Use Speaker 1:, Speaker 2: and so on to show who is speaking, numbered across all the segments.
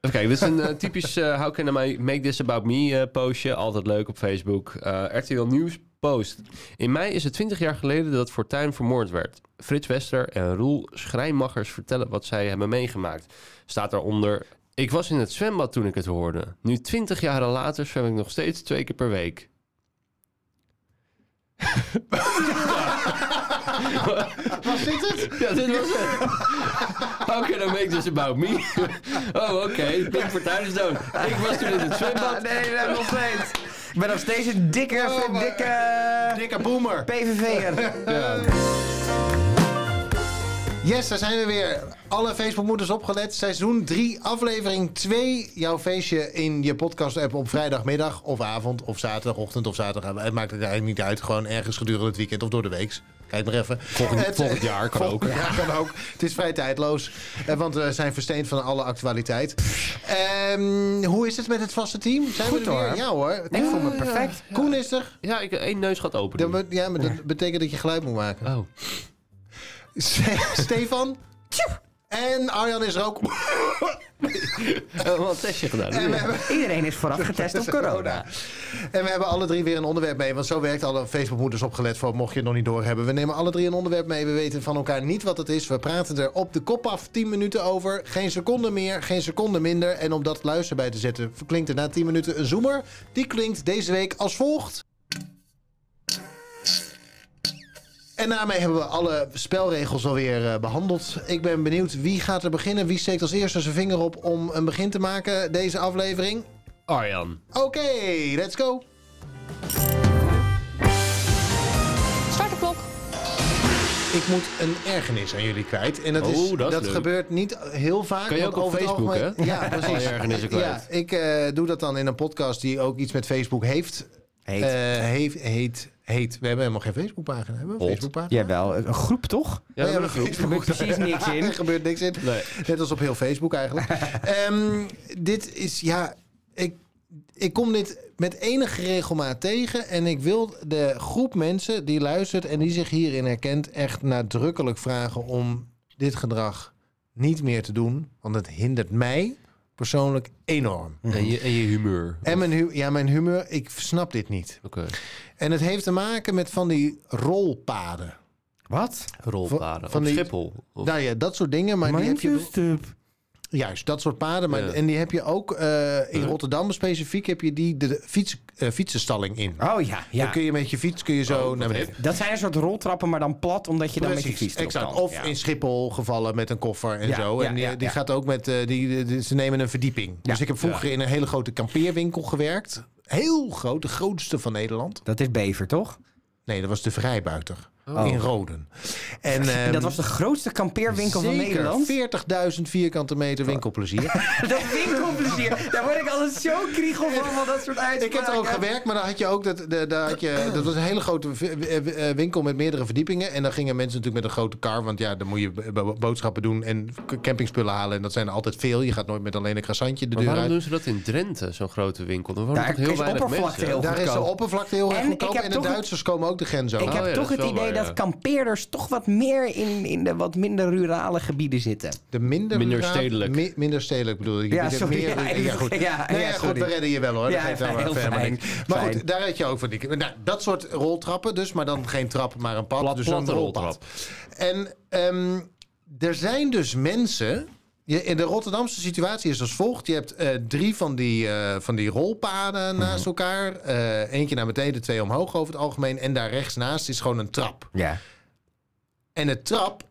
Speaker 1: Even kijken, dit is een eh, typisch eh, How Can I Make This About Me eh, postje. Altijd leuk op Facebook. Eh, RTL Nieuws post. In mei is het 20 jaar geleden dat Fortuyn vermoord werd. Frits Wester en Roel Schrijnmachers vertellen wat zij hebben meegemaakt. Staat daaronder... Ik was in het zwembad toen ik het hoorde. Nu 20 jaren later zwem ik nog steeds twee keer per week.
Speaker 2: Was dit het?
Speaker 1: Ja, dit was het. How can I make this about me? Oh, oké. Pink Fortuyn is dood. Ik was toen in het
Speaker 2: Ah,
Speaker 1: zwembad.
Speaker 3: nee, nee, nog steeds. Ik ben nog steeds een dikke,
Speaker 2: Oh, maar-
Speaker 3: dikke
Speaker 2: Dikke boomer.
Speaker 3: PVV'er.
Speaker 2: Yes, daar zijn we weer. Alle Facebookmoeders opgelet. Seizoen 3, aflevering 2. Jouw feestje in je podcast-app op vrijdagmiddag of avond of zaterdagochtend of zaterdag. Het maakt het eigenlijk niet uit. Gewoon ergens gedurende het weekend of door de week. Kijk maar even.
Speaker 1: Volgend-
Speaker 2: Het-
Speaker 1: volgend jaar kan
Speaker 2: volgend
Speaker 1: ook.
Speaker 2: jaar kan ook. Het is vrij tijdloos, eh, want we zijn versteend van alle actualiteit. Ehm, hoe is het met het vaste team? Zijn
Speaker 3: Goed,
Speaker 2: we er weer?
Speaker 3: hoor.
Speaker 2: Ja hoor.
Speaker 3: Ik voel me perfect.
Speaker 2: Koen is er.
Speaker 1: Ja, ik één neus gaat open.
Speaker 2: Dat, be- ja, maar dat betekent dat je geluid moet maken.
Speaker 1: Oh.
Speaker 2: Stefan. En Arjan is er ook.
Speaker 1: wat testje gedaan?
Speaker 2: En we, hebben,
Speaker 3: Iedereen is vooraf getest op corona.
Speaker 2: en we hebben alle drie weer een onderwerp mee. Want zo werkt alle Facebookmoeders opgelet voor, mocht je het nog niet doorhebben. We nemen alle drie een onderwerp mee. We weten van elkaar niet wat het is. We praten er op de kop af 10 minuten over. Geen seconde meer, geen seconde minder. En om dat luister bij te zetten, klinkt er na 10 minuten een zoomer. Die klinkt deze week als volgt. En daarmee hebben we alle spelregels alweer eh, behandeld. Ik ben benieuwd wie gaat er beginnen. Wie steekt als eerste zijn vinger op om een begin te maken deze aflevering?
Speaker 1: Arjan.
Speaker 2: Oké, let's go.
Speaker 4: Start de klok.
Speaker 2: Ik moet een ergernis aan jullie kwijt. En dat,
Speaker 1: Oh,
Speaker 2: is,
Speaker 1: dat
Speaker 2: dat,
Speaker 1: is leuk.
Speaker 2: gebeurt niet heel vaak.
Speaker 1: Kan je
Speaker 2: want
Speaker 1: ook op
Speaker 2: over het
Speaker 1: Facebook,
Speaker 2: algemeen-
Speaker 1: hè?
Speaker 2: Ja,
Speaker 1: Al
Speaker 2: precies.
Speaker 1: je ergernissen
Speaker 2: Ja,
Speaker 1: kwijt.
Speaker 2: ik eh, doe dat dan in een podcast die ook iets met Facebook heeft.
Speaker 3: Heet.
Speaker 2: Eh, heet, heet, heet. We hebben helemaal geen Facebookpagina. Hebben we een
Speaker 1: Hot.
Speaker 2: Facebookpagina?
Speaker 3: Jawel, een groep toch?
Speaker 1: Ja,
Speaker 2: We
Speaker 1: we
Speaker 2: hebben
Speaker 1: hebben
Speaker 2: een
Speaker 3: Er gebeurt precies niks in.
Speaker 2: Er gebeurt niks in.
Speaker 1: Nee.
Speaker 2: Net als op heel Facebook eigenlijk. Ehm, dit is, ja, ik, ik kom dit met enige regelmaat tegen. En ik wil de groep mensen die luistert en die zich hierin herkent... echt nadrukkelijk vragen om dit gedrag niet meer te doen. Want het hindert mij persoonlijk enorm.
Speaker 1: En je, en je humeur.
Speaker 2: En mijn, hu- ja, mijn humeur, ik snap dit niet.
Speaker 1: Oké.
Speaker 2: En het heeft te maken met van die rolpaden.
Speaker 3: Wat?
Speaker 1: Rolpaden.
Speaker 2: van
Speaker 1: Van
Speaker 2: die-
Speaker 1: Schiphol. Of-
Speaker 2: Nou ja, dat soort dingen. Maar die heb je, dus- Juist, dat soort paden. Maar,
Speaker 1: Ja.
Speaker 2: En die heb je ook eh, in
Speaker 1: Ja.
Speaker 2: Rotterdam specifiek heb je die de, de fiets, eh, fietsenstalling in.
Speaker 3: Oh ja, ja.
Speaker 2: Dan kun je met je fiets kun je
Speaker 1: Oh,
Speaker 2: zo
Speaker 1: wat
Speaker 2: naar beneden.
Speaker 1: hip.
Speaker 3: Dat zijn een soort roltrappen, maar dan plat, omdat je dan met je
Speaker 2: Precies,
Speaker 3: fiets erop
Speaker 2: exact.
Speaker 3: kan.
Speaker 2: Of
Speaker 3: Ja.
Speaker 2: in Schiphol gevallen met een koffer en
Speaker 3: Ja,
Speaker 2: zo.
Speaker 3: ja,
Speaker 2: En die,
Speaker 3: ja,
Speaker 2: die
Speaker 3: ja.
Speaker 2: gaat ook met, eh, die, die- die- ze nemen een verdieping.
Speaker 3: Ja.
Speaker 2: Dus ik heb vroeger in een hele grote kampeerwinkel gewerkt. Heel groot, de grootste van Nederland.
Speaker 3: Dat is Bever, toch?
Speaker 2: Nee, dat was de Vrijbuiter
Speaker 3: Oh.
Speaker 2: in Roden. En, ehm,
Speaker 3: dat was de grootste kampeerwinkel van Nederland.
Speaker 2: Zeker 40.000 vierkante meter winkelplezier.
Speaker 3: Dat winkelplezier. Daar word ik altijd zo kriegel van, van dat soort uitspraken.
Speaker 2: Ik heb er ook gewerkt, maar dan had je ook dat, de- daar had je, dat was een hele grote v- eh, eh, winkel met meerdere verdiepingen. En dan gingen mensen natuurlijk met een grote kar, want ja, dan moet je b- b- boodschappen doen en k- campingspullen halen. En dat zijn er altijd veel. Je gaat nooit met alleen een croissantje de
Speaker 1: Maar
Speaker 2: deur
Speaker 1: waarom
Speaker 2: uit.
Speaker 1: doen ze dat in Drenthe, zo'n grote winkel? Dan wonen
Speaker 3: Daar
Speaker 1: toch heel
Speaker 3: is
Speaker 1: weinig
Speaker 3: oppervlakte
Speaker 1: mensen.
Speaker 3: heel
Speaker 2: Daar is de
Speaker 3: goedkoop.
Speaker 2: oppervlakte heel erg
Speaker 3: En ik
Speaker 2: goedkoop.
Speaker 3: heb
Speaker 2: En de
Speaker 3: toch-
Speaker 2: Duitsers komen ook de grens over.
Speaker 3: Ik heb
Speaker 1: ja,
Speaker 3: toch
Speaker 1: dat is
Speaker 3: het
Speaker 1: wel
Speaker 3: idee
Speaker 1: waar,
Speaker 3: dat
Speaker 1: ja.
Speaker 3: kampeerders toch wat meer in, in de wat minder rurale gebieden zitten.
Speaker 2: De minder,
Speaker 1: Minder
Speaker 2: raad-
Speaker 1: stedelijk.
Speaker 2: mi- minder stedelijk bedoel ik.
Speaker 3: Ja,
Speaker 2: Je hebt
Speaker 3: sorry. Ja,
Speaker 2: Meer, ja,
Speaker 3: ja,
Speaker 2: goed.
Speaker 3: ja,
Speaker 2: Nou
Speaker 3: ja,
Speaker 2: ja, goed,
Speaker 3: sorry.
Speaker 2: we redden je wel hoor. Dat
Speaker 3: Ja,
Speaker 2: geeft
Speaker 3: fijn,
Speaker 2: helemaal
Speaker 3: heel
Speaker 2: verder
Speaker 3: fijn,
Speaker 2: niks. Maar
Speaker 3: fijn.
Speaker 2: goed, daar had je ook van die... Nou, dat soort roltrappen dus, maar dan geen trap, maar een pad.
Speaker 1: Plat-
Speaker 2: dus
Speaker 1: platte
Speaker 2: een rolpad.
Speaker 1: roltrap.
Speaker 2: En ehm, er zijn dus mensen... je- In de Rotterdamse situatie is als volgt. Je hebt eh, drie van die, eh, van die rolpaden
Speaker 1: Mhm.
Speaker 2: naast elkaar. Eh, eentje naar beneden, twee omhoog over het algemeen. En daar rechts naast is gewoon een trap.
Speaker 3: Ja.
Speaker 2: En de trap,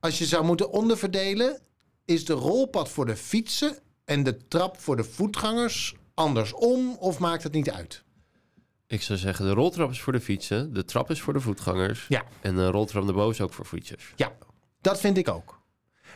Speaker 2: als je zou moeten onderverdelen, is de rolpad voor de fietsen en de trap voor de voetgangers andersom of maakt het niet uit?
Speaker 1: Ik zou zeggen, de roltrap is voor de fietsen. De trap is voor de voetgangers.
Speaker 2: Ja.
Speaker 1: En de roltrap daarboven is ook voor fietsers.
Speaker 2: Ja, dat vind ik ook.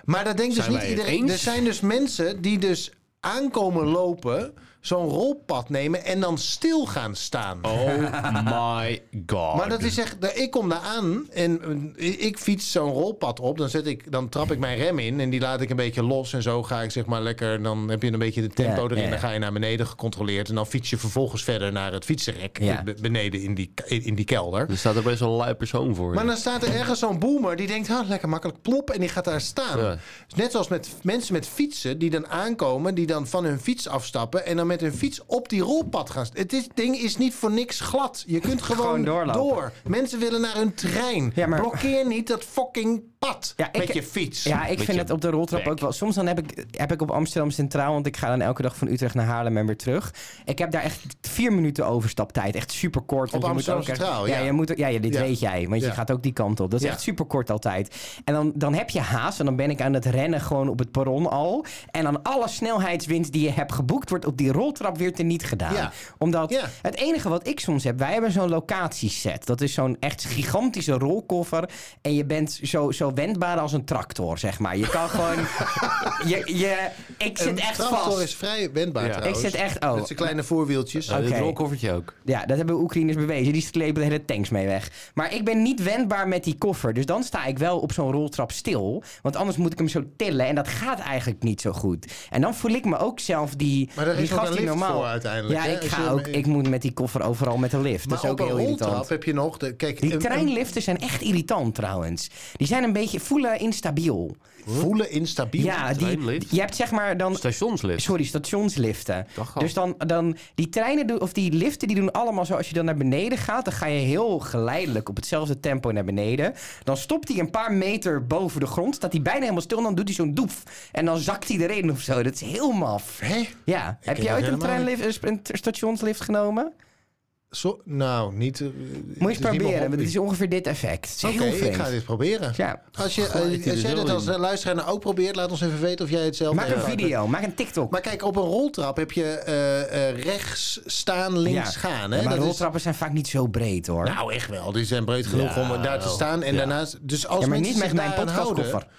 Speaker 2: Maar dat denkt dus
Speaker 1: Zijn
Speaker 2: niet
Speaker 1: wij het
Speaker 2: iedereen.
Speaker 1: eens?
Speaker 2: Er zijn dus mensen die dus aankomen lopen zo'n rolpad nemen en dan stil gaan staan.
Speaker 1: Oh my god.
Speaker 3: Oh,
Speaker 2: Maar dat is echt, nou, ik kom daar aan en eh, ik fiets zo'n rolpad op. Dan, zet ik, dan trap ik mijn rem in en die laat ik een beetje los. En zo ga ik zeg maar lekker. Dan heb je een beetje de tempo
Speaker 3: Ja,
Speaker 2: erin.
Speaker 3: ja.
Speaker 2: Dan ga je naar beneden gecontroleerd. En dan fiets je vervolgens verder naar het fietsenrek.
Speaker 3: Ja.
Speaker 2: eh, beneden in die, in die kelder.
Speaker 1: Er staat er best wel een lui persoon voor.
Speaker 2: Maar dan staat er ergens zo'n boomer die denkt, ah, lekker makkelijk plop. En die gaat daar staan.
Speaker 1: Ja.
Speaker 2: Dus Net zoals met mensen met fietsen die dan aankomen, die dan van hun fiets afstappen en dan met hun fiets op die rolpad gaan. st- Het is, ding is niet voor niks glad. Je kunt gewoon,
Speaker 3: Gewoon doorlopen.
Speaker 2: door. Mensen willen naar hun trein.
Speaker 3: Ja, maar-
Speaker 2: Blokkeer niet dat fucking pad
Speaker 3: Ja,
Speaker 2: met
Speaker 3: ik-
Speaker 2: je fiets.
Speaker 3: Ja, ik
Speaker 1: Met
Speaker 3: vind
Speaker 1: je
Speaker 3: het op de roltrap
Speaker 1: bek.
Speaker 3: ook wel. Soms dan heb ik, heb ik op Amsterdam Centraal, want ik ga dan elke dag van Utrecht naar Haarlem en weer terug. Ik heb daar echt vier minuten overstaptijd. Echt super kort. want
Speaker 2: Op
Speaker 3: je
Speaker 2: Amsterdam
Speaker 3: moet ook echt-
Speaker 2: Centraal, ja.
Speaker 3: ja. Je moet, ook- ja, ja, dit
Speaker 2: Ja.
Speaker 3: weet jij, want
Speaker 2: Ja.
Speaker 3: je gaat ook die kant op. Dat is
Speaker 2: Ja.
Speaker 3: echt super kort altijd. En dan, dan heb je haast en dan ben ik aan het rennen gewoon op het perron al. En dan alle snelheidswinst die je hebt geboekt, wordt op die roltrap weer teniet gedaan.
Speaker 2: Ja.
Speaker 3: Omdat
Speaker 2: Ja.
Speaker 3: het enige wat ik soms heb, wij hebben zo'n locatieset. Dat is zo'n echt gigantische rolkoffer. En je bent zo, zo wendbaar als een tractor, zeg maar. Je kan gewoon. je, je, ik
Speaker 2: Een
Speaker 3: zit echt
Speaker 2: tractor
Speaker 3: vast.
Speaker 2: is vrij wendbaar
Speaker 1: Ja.
Speaker 2: trouwens.
Speaker 3: Ik zit echt- oh.
Speaker 2: Met zijn kleine voorwieltjes.
Speaker 1: Ja, Dit
Speaker 3: Oké.
Speaker 1: rolkoffertje ook.
Speaker 3: Ja, dat hebben Oekraïners bewezen. Die slepen de hele tanks mee weg. Maar ik ben niet wendbaar met die koffer. Dus dan sta ik wel op zo'n roltrap stil. Want anders moet ik hem zo tillen. En dat gaat eigenlijk niet zo goed. En dan voel ik me ook zelf die.
Speaker 2: Maar daar
Speaker 3: die
Speaker 2: is ook
Speaker 3: gast
Speaker 2: een
Speaker 3: die
Speaker 2: lift
Speaker 3: normaal.
Speaker 2: voor uiteindelijk,
Speaker 3: Ja,
Speaker 2: hè?
Speaker 3: ik,
Speaker 2: Als
Speaker 3: ga
Speaker 2: je-
Speaker 3: ook, ik moet met die koffer overal met een lift. dat
Speaker 2: maar op
Speaker 3: is ook
Speaker 2: een
Speaker 3: heel irritant.
Speaker 2: roltrap heb je nog... De, kijk,
Speaker 3: Die
Speaker 2: een- een-
Speaker 3: treinliften zijn echt irritant trouwens. Die zijn een beetje voelen instabiel.
Speaker 2: voelen instabiel.
Speaker 3: Ja, die,
Speaker 1: treinlift?
Speaker 3: je hebt zeg maar dan.
Speaker 1: Stationslift.
Speaker 3: Sorry, stationsliften.
Speaker 1: Dag al.
Speaker 3: Dus dan, dan die treinen doen, of die liften die doen allemaal zo. Als je dan naar beneden gaat, dan ga je heel geleidelijk op hetzelfde tempo naar beneden. Dan stopt hij een paar meter boven de grond, staat hij bijna helemaal stil en dan doet hij zo'n doef. En dan zakt hij erin of zo. Dat is heel maf.
Speaker 2: Hè?
Speaker 3: Ja, heb
Speaker 2: ken dat
Speaker 3: je ooit een,
Speaker 2: helemaal
Speaker 3: treinlift, een sp- een stationslift genomen?
Speaker 2: Zo, nou, niet... eh, het is niet
Speaker 3: Moet je
Speaker 2: mijn
Speaker 3: eens proberen, want
Speaker 2: hobby.
Speaker 3: het is ongeveer dit effect. Het is
Speaker 2: Oké,
Speaker 3: heel
Speaker 2: ik
Speaker 3: vreemd.
Speaker 2: ga dit proberen.
Speaker 3: Ja.
Speaker 2: Als, je, eh,
Speaker 1: Goh, dit
Speaker 2: als jij
Speaker 1: is
Speaker 2: dit
Speaker 1: heel
Speaker 2: als eh, luisteraar nou ook probeert, laat ons even weten of jij het zelf
Speaker 3: Maak een
Speaker 2: ervaart.
Speaker 3: video, maak een TikTok.
Speaker 2: Maar kijk, op een roltrap heb je eh, eh, rechts staan, links
Speaker 3: Ja.
Speaker 2: gaan.
Speaker 3: Ja,
Speaker 2: Hè?
Speaker 3: maar
Speaker 2: Dat is-
Speaker 3: roltrappen zijn vaak niet zo breed hoor.
Speaker 2: Nou, echt wel. Die zijn breed genoeg
Speaker 1: Ja,
Speaker 2: om daar te
Speaker 1: wel.
Speaker 2: staan. En
Speaker 1: Ja.
Speaker 2: daarnaast... Dus als
Speaker 3: ja, maar
Speaker 2: mensen
Speaker 3: niet met
Speaker 2: zich
Speaker 3: mijn
Speaker 2: daaraan
Speaker 3: podcastkoffer.
Speaker 2: houden-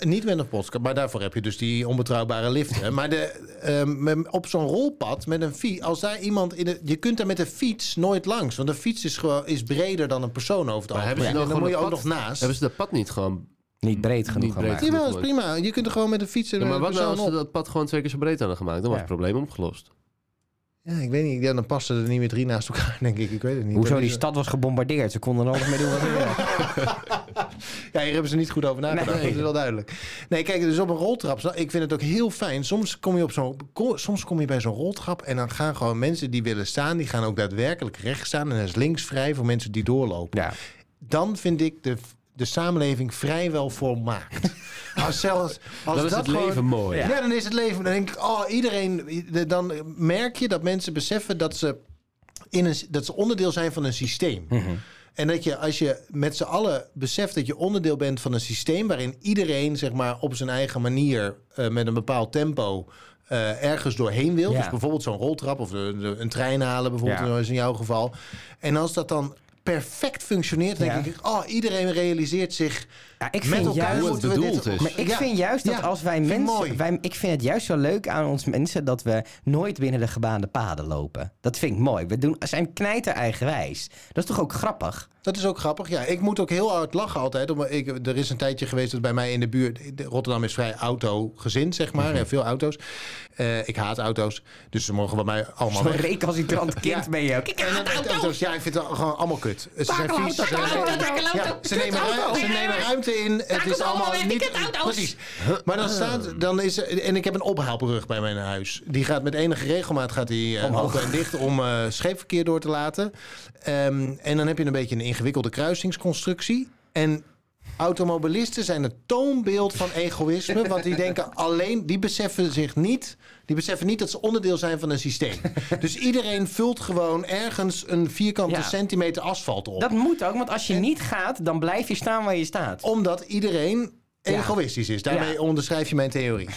Speaker 2: Niet met een podcast, maar daarvoor heb je dus die onbetrouwbare liften. maar de, ehm, met- op zo'n rolpad met een fiets, als daar iemand in de... Je kunt daar met een fiets nooit langs. Want een fiets is, gewoon, is breder dan een persoon over
Speaker 1: Maar
Speaker 2: het algemeen.
Speaker 1: hebben ze dan
Speaker 2: En dan
Speaker 1: gewoon
Speaker 2: moet je
Speaker 1: een
Speaker 2: ook nog
Speaker 1: pad?
Speaker 2: naast.
Speaker 1: Hebben ze dat pad niet gewoon...
Speaker 3: Niet breed genoeg
Speaker 1: Niet breed.
Speaker 3: gemaakt.
Speaker 2: Jawel, is
Speaker 1: Goed.
Speaker 2: prima. Je kunt er gewoon met een fiets en
Speaker 1: Ja, maar
Speaker 2: een
Speaker 1: wat nou
Speaker 2: persoon
Speaker 1: als ze
Speaker 2: op.
Speaker 1: dat pad gewoon twee keer zo breed hadden gemaakt? Dan was
Speaker 3: Ja.
Speaker 1: het probleem opgelost.
Speaker 2: Ja, ik weet niet. Ja, dan passen er niet meer drie naast elkaar, denk ik. Ik weet het niet.
Speaker 3: Hoezo
Speaker 2: Dat
Speaker 3: die
Speaker 2: is-
Speaker 3: stad was gebombardeerd? Ze konden er alles mee doen wat ze wilden.
Speaker 2: Ja, hier hebben ze niet goed over nagedacht.
Speaker 3: Nee.
Speaker 2: Dat is wel duidelijk. Nee, kijk, dus op een roltrap. zo- Ik vind het ook heel fijn. Soms kom je, op zo'n, ko- soms kom je bij zo'n roltrap en dan gaan gewoon mensen die willen staan, die gaan ook daadwerkelijk rechts staan en dan is links vrij voor mensen die doorlopen.
Speaker 3: Ja.
Speaker 2: Dan vind ik de, de samenleving vrijwel volmaakt. Als zelfs, als
Speaker 1: Dan is
Speaker 2: dat
Speaker 1: het
Speaker 2: gewoon-
Speaker 1: leven mooi.
Speaker 2: Ja. dan is het leven. Dan denk ik, oh, iedereen. Dan merk je dat mensen beseffen dat ze, in een, dat ze onderdeel zijn van een systeem. En dat je als je met z'n allen beseft dat je onderdeel bent van een systeem waarin iedereen zeg maar op zijn eigen manier eh, met een bepaald tempo eh, ergens doorheen wil.
Speaker 3: Ja.
Speaker 2: Dus bijvoorbeeld zo'n roltrap of de- de- een trein halen bijvoorbeeld
Speaker 3: Ja.
Speaker 2: zoals in jouw geval. En als dat dan perfect functioneert, dan
Speaker 3: Ja.
Speaker 2: denk ik, oh, iedereen realiseert zich
Speaker 3: Ja, ik
Speaker 2: met
Speaker 3: vind
Speaker 2: elkaar
Speaker 3: juist...
Speaker 1: moet-
Speaker 2: moeten we
Speaker 1: bedoeld
Speaker 2: dit-
Speaker 1: is.
Speaker 3: Maar ik
Speaker 2: Ja.
Speaker 3: vind juist dat
Speaker 2: Ja.
Speaker 3: als wij
Speaker 2: Vind ik
Speaker 3: mensen...
Speaker 2: mooi.
Speaker 3: Wij, ik vind het juist zo leuk aan ons mensen dat we nooit binnen de gebaande paden lopen. Dat vind ik mooi. We doen, zijn knijter eigenwijs. Dat is toch ook grappig?
Speaker 2: Dat is ook grappig. Ja, ik moet ook heel hard lachen altijd. Om, ik, er is een tijdje geweest dat bij mij in de buurt. Rotterdam is vrij autogezind, zeg maar. en Veel auto's. Eh, ik haat auto's. Dus ze mogen bij mij allemaal
Speaker 3: Zo'n
Speaker 2: weg.
Speaker 3: recalcitrant kind
Speaker 2: Ja.
Speaker 3: ben je ook. Ik
Speaker 2: En dan
Speaker 3: haat
Speaker 2: auto's.
Speaker 3: auto's.
Speaker 2: Ja, ik vind het gewoon allemaal kut. Ze zijn
Speaker 3: Takelauto,
Speaker 2: vies. Ze, zijn-
Speaker 3: takelauto, takelauto.
Speaker 2: Ja, ze, nemen,
Speaker 3: Kutauto.
Speaker 2: ruim- ze nemen ruimte in. Het
Speaker 4: Takels
Speaker 2: is allemaal
Speaker 4: allemaal weg, die
Speaker 2: niet...
Speaker 4: kutauto's.
Speaker 2: Precies. Maar dan staat... Dan is, er- en ik heb een ophaalbrug bij mijn huis. Die gaat met enige regelmaat gaat die, eh, open en dicht om eh scheepverkeer door te laten. Ehm, en dan heb je een beetje een ingewikkelde kruisingsconstructie. En... Automobilisten zijn het toonbeeld van egoïsme. Want die denken alleen, die beseffen zich niet. Die beseffen niet dat ze onderdeel zijn van een systeem. Dus iedereen vult gewoon ergens een vierkante
Speaker 3: Ja.
Speaker 2: centimeter asfalt op.
Speaker 3: Dat moet ook, want als je niet gaat, dan blijf je staan waar je staat.
Speaker 2: Omdat iedereen egoïstisch is. Daarmee
Speaker 3: Ja.
Speaker 2: onderschrijf je mijn theorie.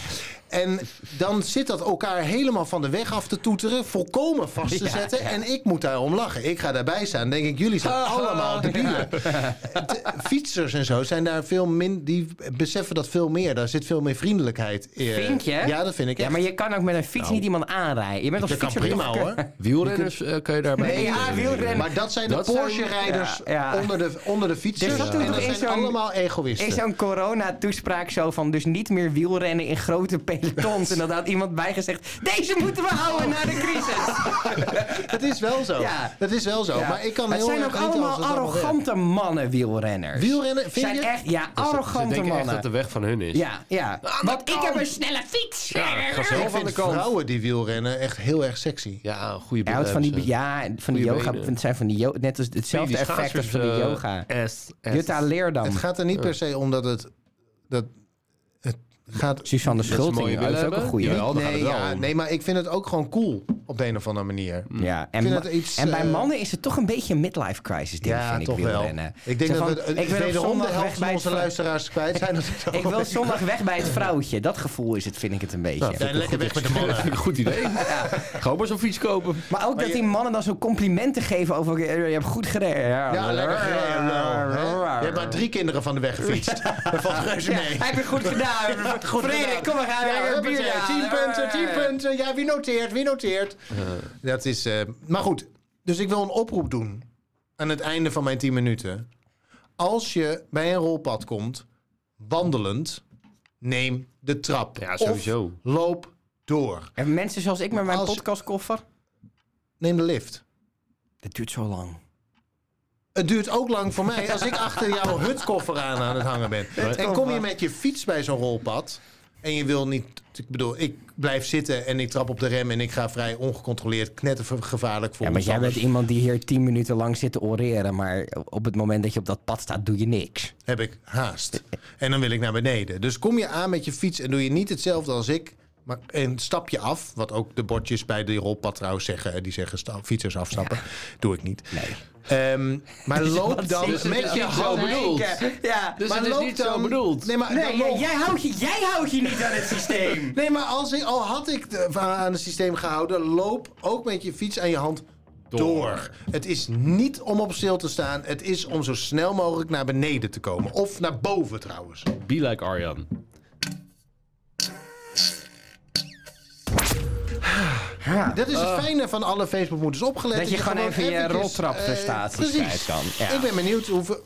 Speaker 2: En dan zit dat elkaar helemaal van de weg af te toeteren, volkomen vast te
Speaker 3: Ja,
Speaker 2: zetten.
Speaker 3: ja.
Speaker 2: En ik moet daarom lachen. Ik ga daarbij staan. denk ik, jullie zijn allemaal debielen. De Fietsers en zo zijn daar veel min, die beseffen dat veel meer. Daar zit veel meer vriendelijkheid in.
Speaker 3: Vind je?
Speaker 2: Ja, dat vind ik.
Speaker 3: Ja,
Speaker 2: echt.
Speaker 3: maar je kan ook met een fiets niet iemand aanrijden. Je bent als
Speaker 2: dat Nou. kan
Speaker 3: fietser
Speaker 2: prima
Speaker 3: toch-
Speaker 2: hoor.
Speaker 1: Wielrenners eh, kan je daarbij...
Speaker 3: Nee, ja, wielrennen.
Speaker 2: Maar dat zijn
Speaker 1: Dat
Speaker 2: de
Speaker 1: zijn-
Speaker 2: Porsche-rijders
Speaker 3: ja, Dus ja.
Speaker 2: Onder, de, onder de fietsers.
Speaker 3: Er zat toen
Speaker 2: en
Speaker 3: nog
Speaker 2: dat
Speaker 3: eens
Speaker 2: zijn
Speaker 3: zo'n-
Speaker 2: allemaal egoïsten.
Speaker 3: Is zo'n corona-toespraak zo van dus niet meer wielrennen in grote pelotons. En dan had iemand bijgezegd, deze moeten we houden na de crisis.
Speaker 2: Dat is wel zo.
Speaker 3: Ja.
Speaker 2: Dat is wel zo.
Speaker 3: Ja.
Speaker 2: Maar ik kan
Speaker 3: het
Speaker 2: heel
Speaker 3: zijn
Speaker 2: erg
Speaker 3: ook
Speaker 2: genieten
Speaker 3: allemaal
Speaker 2: als het allemaal werkt.
Speaker 3: arrogante mannen wielrenners.
Speaker 2: Wielrennen, vind
Speaker 3: zijn
Speaker 2: je?
Speaker 3: echt, ja,
Speaker 1: Ze
Speaker 3: arrogante
Speaker 1: denken echt
Speaker 3: mannen.
Speaker 1: dat de weg van hun is.
Speaker 3: Ja, ja.
Speaker 2: Ah,
Speaker 3: Want ik heb een snelle fiets.
Speaker 1: Ja, ik ga zelf
Speaker 2: Ik
Speaker 1: aan de
Speaker 2: vind
Speaker 1: kant.
Speaker 2: vrouwen die wielrennen echt heel erg sexy.
Speaker 1: Ja, een goede eh,
Speaker 3: Ja, want van die,
Speaker 1: hebben ze.
Speaker 3: ja, van die
Speaker 1: Goeie
Speaker 3: yoga,
Speaker 1: benen.
Speaker 3: het zijn van die yo- net als hetzelfde
Speaker 1: Die
Speaker 3: effect als
Speaker 1: schaatsers,
Speaker 3: van die
Speaker 1: eh,
Speaker 3: yoga.
Speaker 1: ass, ass.
Speaker 3: Jutta Leerdam,
Speaker 2: Het gaat er niet per se om dat het... Dat, het gaat...
Speaker 3: Suzanne Schulting,
Speaker 1: mooie
Speaker 3: dat is
Speaker 1: billen
Speaker 3: ook een
Speaker 1: hebben.
Speaker 3: goeie.
Speaker 1: Jawel, daar gaat
Speaker 2: nee,
Speaker 1: het wel
Speaker 2: ja,
Speaker 1: om.
Speaker 2: nee, maar ik vind het ook gewoon cool. Op de een of andere manier.
Speaker 3: Ja, en,
Speaker 2: vind
Speaker 3: ma-
Speaker 2: het iets,
Speaker 3: en bij
Speaker 2: eh,
Speaker 3: mannen is het toch een beetje een midlife crisis ding,
Speaker 2: Ja,
Speaker 3: vind ik
Speaker 2: toch wel.
Speaker 3: wielrennen.
Speaker 2: Ik denk
Speaker 3: Zo
Speaker 2: dat
Speaker 3: van,
Speaker 2: we
Speaker 3: ik ben op
Speaker 2: wederom de
Speaker 3: zondag
Speaker 2: helft
Speaker 3: weg
Speaker 2: van
Speaker 3: bij
Speaker 2: onze
Speaker 3: het vrou-
Speaker 2: luisteraars kwijt zijn. Dat het
Speaker 3: Ik wil zondag weg bij het vrouwtje. Dat gevoel is het, vind ik het een beetje.
Speaker 2: zijn lekker weg met de mannen.
Speaker 1: Vind ik een goed idee. Gewoon maar zo'n fiets kopen.
Speaker 3: Maar ook dat die mannen dan zo complimenten geven over... eh, Je hebt goed gereden.
Speaker 2: Ja, lekker gereden, lul, hè? Je hebt maar drie kinderen van de weg gefietst. Dat valt reuze
Speaker 3: Ja,
Speaker 2: mee.
Speaker 3: heb je goed gedaan. Frederik, kom maar gaan.
Speaker 2: Ja,
Speaker 3: we gaan
Speaker 2: huppatee,
Speaker 3: bier aan.
Speaker 2: 10 punten, 10 punten. Ja, wie noteert, wie noteert. Dat is... eh, maar goed, dus ik wil een oproep doen. Aan het einde van mijn 10 minuten. Als je bij een rolpad komt, wandelend, neem de trap.
Speaker 1: Ja, sowieso.
Speaker 2: Of loop door.
Speaker 3: En mensen zoals ik met mijn
Speaker 2: Als-
Speaker 3: podcastkoffer.
Speaker 2: Neem de lift.
Speaker 3: Dat duurt zo lang.
Speaker 2: Het duurt ook lang voor mij als ik achter jouw hutkoffer aan aan het hangen ben. En kom je met je fiets bij zo'n rolpad en je wil niet... Ik bedoel, ik blijf zitten en ik trap op de rem en ik ga vrij ongecontroleerd knettergevaarlijk voor
Speaker 3: Ja, maar jij bent
Speaker 2: omstanders.
Speaker 3: iemand die hier tien minuten lang zit te oreren. Maar op het moment dat je op dat pad staat, doe je niks.
Speaker 2: heb ik haast. En dan wil ik naar beneden. Dus kom je aan met je fiets en doe je niet hetzelfde als ik. Maar, en stap je af, wat ook de bordjes bij de rolpad trouwens zeggen. hè, Die zeggen sta- fietsers afstappen. Doe ik niet. Ehm, maar loop
Speaker 3: wat
Speaker 2: dan
Speaker 3: zin is
Speaker 2: met
Speaker 1: het
Speaker 2: je
Speaker 1: niet zo
Speaker 2: handen.
Speaker 1: eh, bedoeld?
Speaker 3: Ja.
Speaker 1: Dus
Speaker 2: Maar
Speaker 1: het is
Speaker 2: loop
Speaker 1: niet
Speaker 2: dan-
Speaker 1: zo bedoeld.
Speaker 2: Nee, maar, dan
Speaker 3: Nee, jij,
Speaker 2: loop-
Speaker 3: jij, houdt je, jij houdt je niet aan het systeem.
Speaker 2: nee, maar als ik, al had ik de- aan aan het systeem gehouden, loop ook met je fiets aan je hand door. Het is niet om op stil te staan. Het is om zo snel mogelijk naar beneden te komen. Of naar boven trouwens.
Speaker 1: Be like Arjan.
Speaker 3: Dus-
Speaker 2: Dat is het fijne van alle Facebookmoeders opgelet.
Speaker 3: Ah. Dat je gewoon even je roltrapprestaties
Speaker 2: eh, precies.
Speaker 3: kwijt kan. Ja.
Speaker 2: Ik ben benieuwd hoeveel...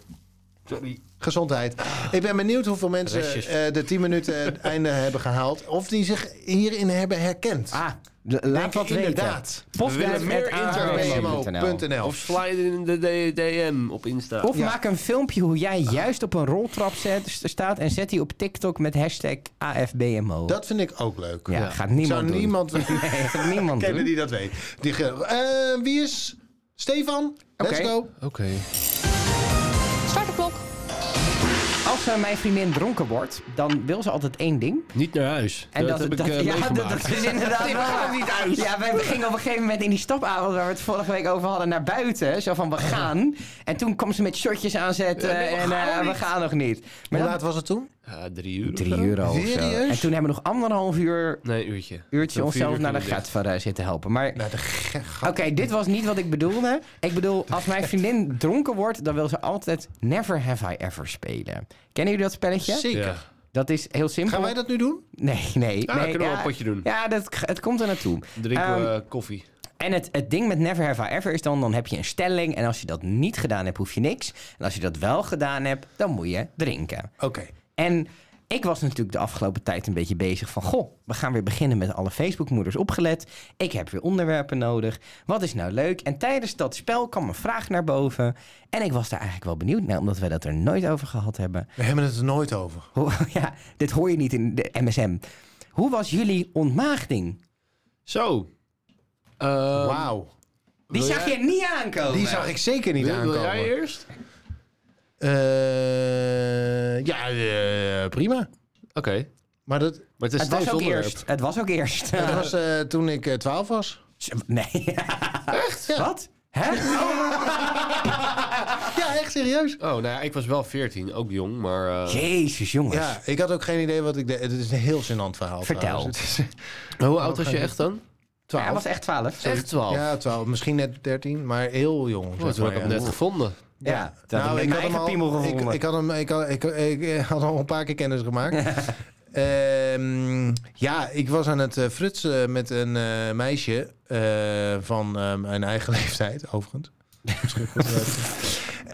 Speaker 2: Gezondheid. Ik ben benieuwd hoeveel mensen
Speaker 1: Restjes.
Speaker 2: eh, de 10 minuten het einde hebben gehaald. Of die zich hierin hebben herkend.
Speaker 3: Ah, l- laat wat
Speaker 2: inderdaad.
Speaker 3: weten. Podcast
Speaker 1: We willen
Speaker 3: at
Speaker 1: meer
Speaker 3: ARWMO.nl.
Speaker 2: interwmo.nl.
Speaker 1: Of slide in de D- DM op Insta.
Speaker 3: Of maak een filmpje hoe jij juist op een roltrap zet, st- staat en zet die op TikTok met hashtag AFBMO.
Speaker 2: Dat vind ik ook leuk.
Speaker 3: ja, gaat niemand
Speaker 2: Zou
Speaker 3: doen.
Speaker 2: niemand
Speaker 3: Nee, gaat niemand
Speaker 2: kennen
Speaker 3: doen.
Speaker 2: die dat weet. Die ge- Eh, wie is Stefan? Let's
Speaker 3: Oké.
Speaker 2: go.
Speaker 1: Oké.
Speaker 4: Start de klok.
Speaker 3: Als eh, mijn vriendin dronken wordt, dan wil ze altijd één ding.
Speaker 1: Niet naar huis.
Speaker 3: En
Speaker 1: dat, heb ik eh,
Speaker 3: ja, dat,
Speaker 1: meegemaakt.
Speaker 3: dat is inderdaad wel niet uit. Ja, wij gingen op een gegeven moment in die stapavond waar we het vorige week over hadden naar buiten. Zo van we gaan. En toen kwam ze met shotjes aanzetten en eh, we gaan nog niet. Maar
Speaker 2: Hoe
Speaker 3: dat-
Speaker 2: laat was het toen?
Speaker 1: Ja, drie uur. of
Speaker 3: drie
Speaker 1: zo.
Speaker 3: euro. of zo.
Speaker 2: Serieus?
Speaker 3: En toen hebben we nog anderhalf uur
Speaker 1: Nee, een uurtje.
Speaker 3: uurtje
Speaker 1: Zo'n vier
Speaker 3: onszelf
Speaker 1: uur
Speaker 3: naar de
Speaker 1: kunnen we
Speaker 3: gat van zitten helpen. Maar
Speaker 2: Nou, de ge-
Speaker 3: oké, dit was niet wat ik bedoelde. Ik bedoel, als mijn vriendin dronken wordt, dan wil ze altijd Never Have I Ever spelen. Kennen jullie dat spelletje?
Speaker 2: Zeker.
Speaker 1: Ja.
Speaker 3: Dat Ah, is heel simpel.
Speaker 2: Gaan wij dat nu doen?
Speaker 3: Nee, nee.
Speaker 1: Ja,
Speaker 3: nee,
Speaker 1: kunnen we wel een potje doen.
Speaker 3: Ja, dat, het komt er naartoe.
Speaker 1: dicht. Drinken
Speaker 3: Ehm,
Speaker 1: we koffie.
Speaker 3: En het, het ding met Never Have I Ever is dan, dan heb je een stelling. En als je dat niet gedaan hebt, hoef je niks. En als je dat wel gedaan hebt, dan moet je drinken.
Speaker 2: Oké.
Speaker 3: En ik was natuurlijk de afgelopen tijd een beetje bezig van... Goh, we gaan weer beginnen met alle Facebookmoeders opgelet. Ik heb weer onderwerpen nodig. Wat is nou leuk? En tijdens dat spel kwam een vraag naar boven. En ik was daar eigenlijk wel benieuwd naar, omdat we dat er nooit over gehad hebben.
Speaker 2: We hebben het er nooit over.
Speaker 3: Hoe- ja, dit hoor je niet in de MSM. Hoe was jullie ontmaagding?
Speaker 1: Zo. Ehm,
Speaker 2: Wauw.
Speaker 3: Die
Speaker 1: Wil
Speaker 3: zag
Speaker 1: jij-
Speaker 3: je niet aankomen.
Speaker 2: Die zag ik zeker niet
Speaker 1: Wil, wil
Speaker 2: aankomen.
Speaker 1: jij eerst?
Speaker 2: Eh, ja, eh, prima.
Speaker 1: Oké.
Speaker 2: Maar dat,
Speaker 1: Maar het is
Speaker 3: Het was
Speaker 1: steeds
Speaker 3: ook
Speaker 1: onderwerp.
Speaker 3: eerst. Het was ook eerst.
Speaker 2: dat was eh, toen ik eh, 12 was.
Speaker 3: Nee.
Speaker 2: Echt? Ja.
Speaker 3: Wat? Hè?
Speaker 2: Ja, echt serieus.
Speaker 1: Oh, nou ja, ik was wel 14, ook jong, maar... eh,
Speaker 3: Jezus, jongens.
Speaker 2: Ja, ik had ook geen idee wat ik deed. Het is een heel gênant verhaal.
Speaker 3: Vertel.
Speaker 2: trouwens. Het is
Speaker 1: hoe oud was je echt dan?
Speaker 3: Ja, hij
Speaker 2: 12.
Speaker 3: was echt 12.
Speaker 1: Echt 12.
Speaker 2: Ja, 12. Misschien net 13, maar heel jong.
Speaker 1: Oh,
Speaker 2: zeg
Speaker 1: toen
Speaker 2: maar,
Speaker 1: had ik hem
Speaker 2: ja. Nou,
Speaker 1: net gevonden.
Speaker 3: Ja, dat had ik met mijn eigen
Speaker 2: al-
Speaker 3: piemel gevonden.
Speaker 2: Ik, ik, had hem, ik, had, ik, ik, eh, had al een paar keer kennis gemaakt. Ehm, ja, ik was aan het eh, frutsen met een eh, meisje eh, van eh, mijn eigen leeftijd, overigens. Misschien goed leuk.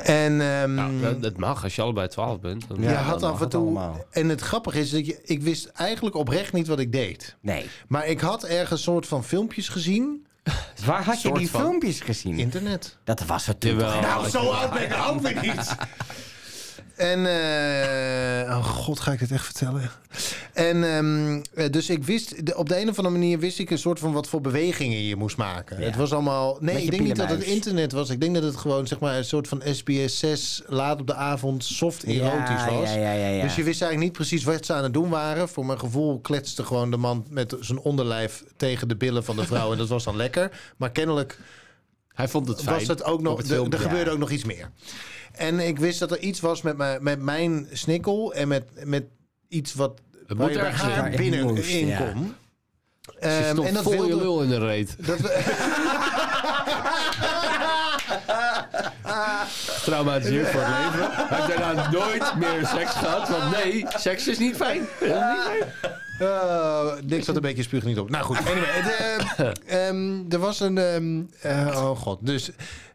Speaker 2: en ehm,
Speaker 1: Nou, dat, dat mag, als je allebei 12 bent. Dan...
Speaker 3: Ja,
Speaker 2: je
Speaker 3: dan
Speaker 2: had
Speaker 3: mag
Speaker 2: af en
Speaker 3: het
Speaker 2: toe.
Speaker 3: allemaal.
Speaker 2: En het grappige is dat je, ik wist eigenlijk oprecht niet wat ik deed.
Speaker 3: Nee.
Speaker 2: Maar ik had ergens soort van filmpjes gezien.
Speaker 3: Waar had je
Speaker 1: Soort
Speaker 3: die
Speaker 1: van.
Speaker 3: filmpjes gezien?
Speaker 2: Internet.
Speaker 3: Dat was het toen.
Speaker 1: Jawel.
Speaker 3: toch?
Speaker 1: Nou, zo
Speaker 3: oud ben ik ook weer niet.
Speaker 2: En, eh, oh god, ga ik dit echt vertellen? En ehm, eh, dus ik wist, de- op de een of andere manier wist ik een soort van wat voor bewegingen je moest maken.
Speaker 3: Ja.
Speaker 2: Het was allemaal, nee,
Speaker 3: Met je
Speaker 2: ik denk niet dat het
Speaker 3: pielenmuis.
Speaker 2: internet was. Ik denk dat het gewoon zeg maar een soort van SBS 6 laat op de avond soft erotisch was.
Speaker 3: Ja, ja, ja, ja.
Speaker 2: Dus je wist eigenlijk niet precies wat ze aan het doen waren. Voor mijn gevoel kletste gewoon de man met zijn onderlijf tegen de billen van de vrouw. En dat was dan lekker. Maar kennelijk
Speaker 1: Hij vond het fijn.
Speaker 2: was dat ook nog,
Speaker 1: op het
Speaker 2: er-
Speaker 1: filmpje.
Speaker 2: er gebeurde ook nog iets meer. En ik wist dat er iets was met mijn, met mijn snikkel en met, met iets wat
Speaker 1: Het
Speaker 2: waar
Speaker 1: moet
Speaker 2: je bij
Speaker 1: ergens
Speaker 2: haar
Speaker 3: in.
Speaker 2: binnen
Speaker 3: Moest,
Speaker 2: in
Speaker 3: ja.
Speaker 2: kon.
Speaker 1: Ze
Speaker 2: Ehm,
Speaker 1: stond
Speaker 2: en dat
Speaker 1: vol je
Speaker 2: wilde,
Speaker 1: lul in de reet.
Speaker 2: dat we-
Speaker 1: Traumatiseerd voor het leven. Hij heeft daarna nooit meer seks gehad. Want nee, seks is niet fijn.
Speaker 2: Eh, Niks zat een beetje spuug niet op. Nou goed, anyway. het, eh, ehm, er was een... ehm, eh, oh god, dus...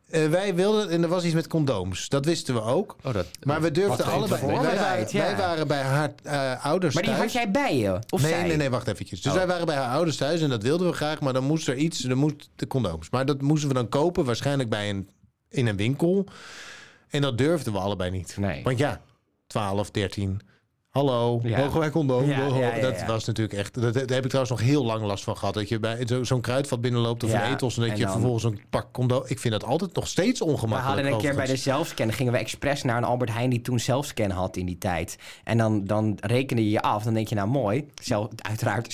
Speaker 2: eh, wij wilden, en er was iets met condooms. Dat wisten we ook.
Speaker 1: Oh, dat,
Speaker 2: Maar we durfden
Speaker 1: Wat
Speaker 2: allebei. Wij
Speaker 1: voor
Speaker 2: waren,
Speaker 3: voorbereid, ja.
Speaker 2: wij waren bij haar eh, ouders
Speaker 3: maar die
Speaker 2: thuis.
Speaker 3: had jij bij je? Of
Speaker 2: nee,
Speaker 3: zij?
Speaker 2: nee, nee, wacht eventjes. Dus
Speaker 3: Oh.
Speaker 2: wij waren bij haar ouders thuis en dat wilden we graag. Maar dan moest er iets, dan moest de condooms. Maar dat moesten we dan kopen, waarschijnlijk bij een, in een winkel. En dat durfden we allebei niet.
Speaker 3: Nee.
Speaker 2: Want ja, 12, 13. Hallo,
Speaker 3: Ja.
Speaker 2: mogen wij condoom?
Speaker 3: Ja, ja, ja,
Speaker 2: Dat
Speaker 3: ja.
Speaker 2: was natuurlijk echt... Dat, daar heb ik trouwens nog heel lang last van gehad. Dat je bij zo- zo'n kruidvat binnenloopt of
Speaker 3: Ja,
Speaker 2: een etels... en dat
Speaker 3: en
Speaker 2: je
Speaker 3: dan-
Speaker 2: vervolgens een pak condoom... Ik vind dat altijd nog steeds
Speaker 3: We
Speaker 2: ongemakkelijk.
Speaker 3: hadden een keer bij de
Speaker 2: overigens.
Speaker 3: zelfscan, gingen we expres naar een Albert Heijn die toen zelfscan had in die tijd. En dan, dan rekende je je af, dan denk je nou mooi, zelf, uiteraard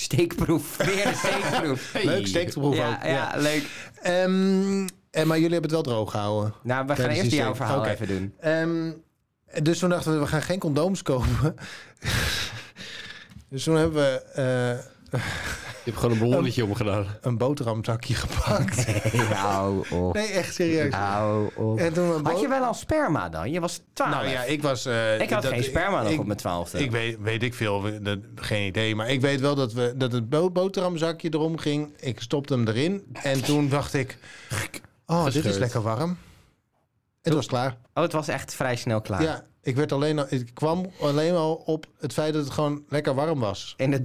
Speaker 3: steekproef, weer een steekproef.
Speaker 2: Leuk steekproef
Speaker 3: Ja,
Speaker 2: ook.
Speaker 3: ja, leuk.
Speaker 2: Ehm, en, maar jullie hebben het wel droog gehouden.
Speaker 3: Nou, we gaan
Speaker 2: Tijdens
Speaker 3: eerst
Speaker 2: die
Speaker 3: jouw
Speaker 2: steek-
Speaker 3: verhaal
Speaker 2: Oké.
Speaker 3: even doen.
Speaker 2: Ehm, dus toen dachten we, we gaan geen condooms kopen. dus toen hebben we eh,
Speaker 1: Je hebt gewoon een ballonnetje omgedaan.
Speaker 2: een boterhamzakje gepakt.
Speaker 3: Hey, hou op.
Speaker 2: Nee, echt serieus.
Speaker 3: Hou op.
Speaker 2: En toen we een
Speaker 3: Had je
Speaker 2: boter-
Speaker 3: wel al sperma dan? Je was 12.
Speaker 2: Nou ja,
Speaker 3: ik,
Speaker 2: ik was... eh,
Speaker 3: had
Speaker 2: dat-
Speaker 3: geen sperma nog op mijn twaalfde.
Speaker 2: Ik weet, weet ik veel, we- dat, geen idee. Maar ik weet wel dat, we, dat het bo- boterhamzakje erom ging. Ik stopte hem erin. En toen dacht ik, oh, dit is
Speaker 1: Gescheurd.
Speaker 2: lekker warm. Het was klaar.
Speaker 3: Oh, het was echt vrij snel klaar.
Speaker 2: Ja, ik, werd alleen al, ik kwam alleen al op het feit dat het gewoon lekker warm was.
Speaker 3: In het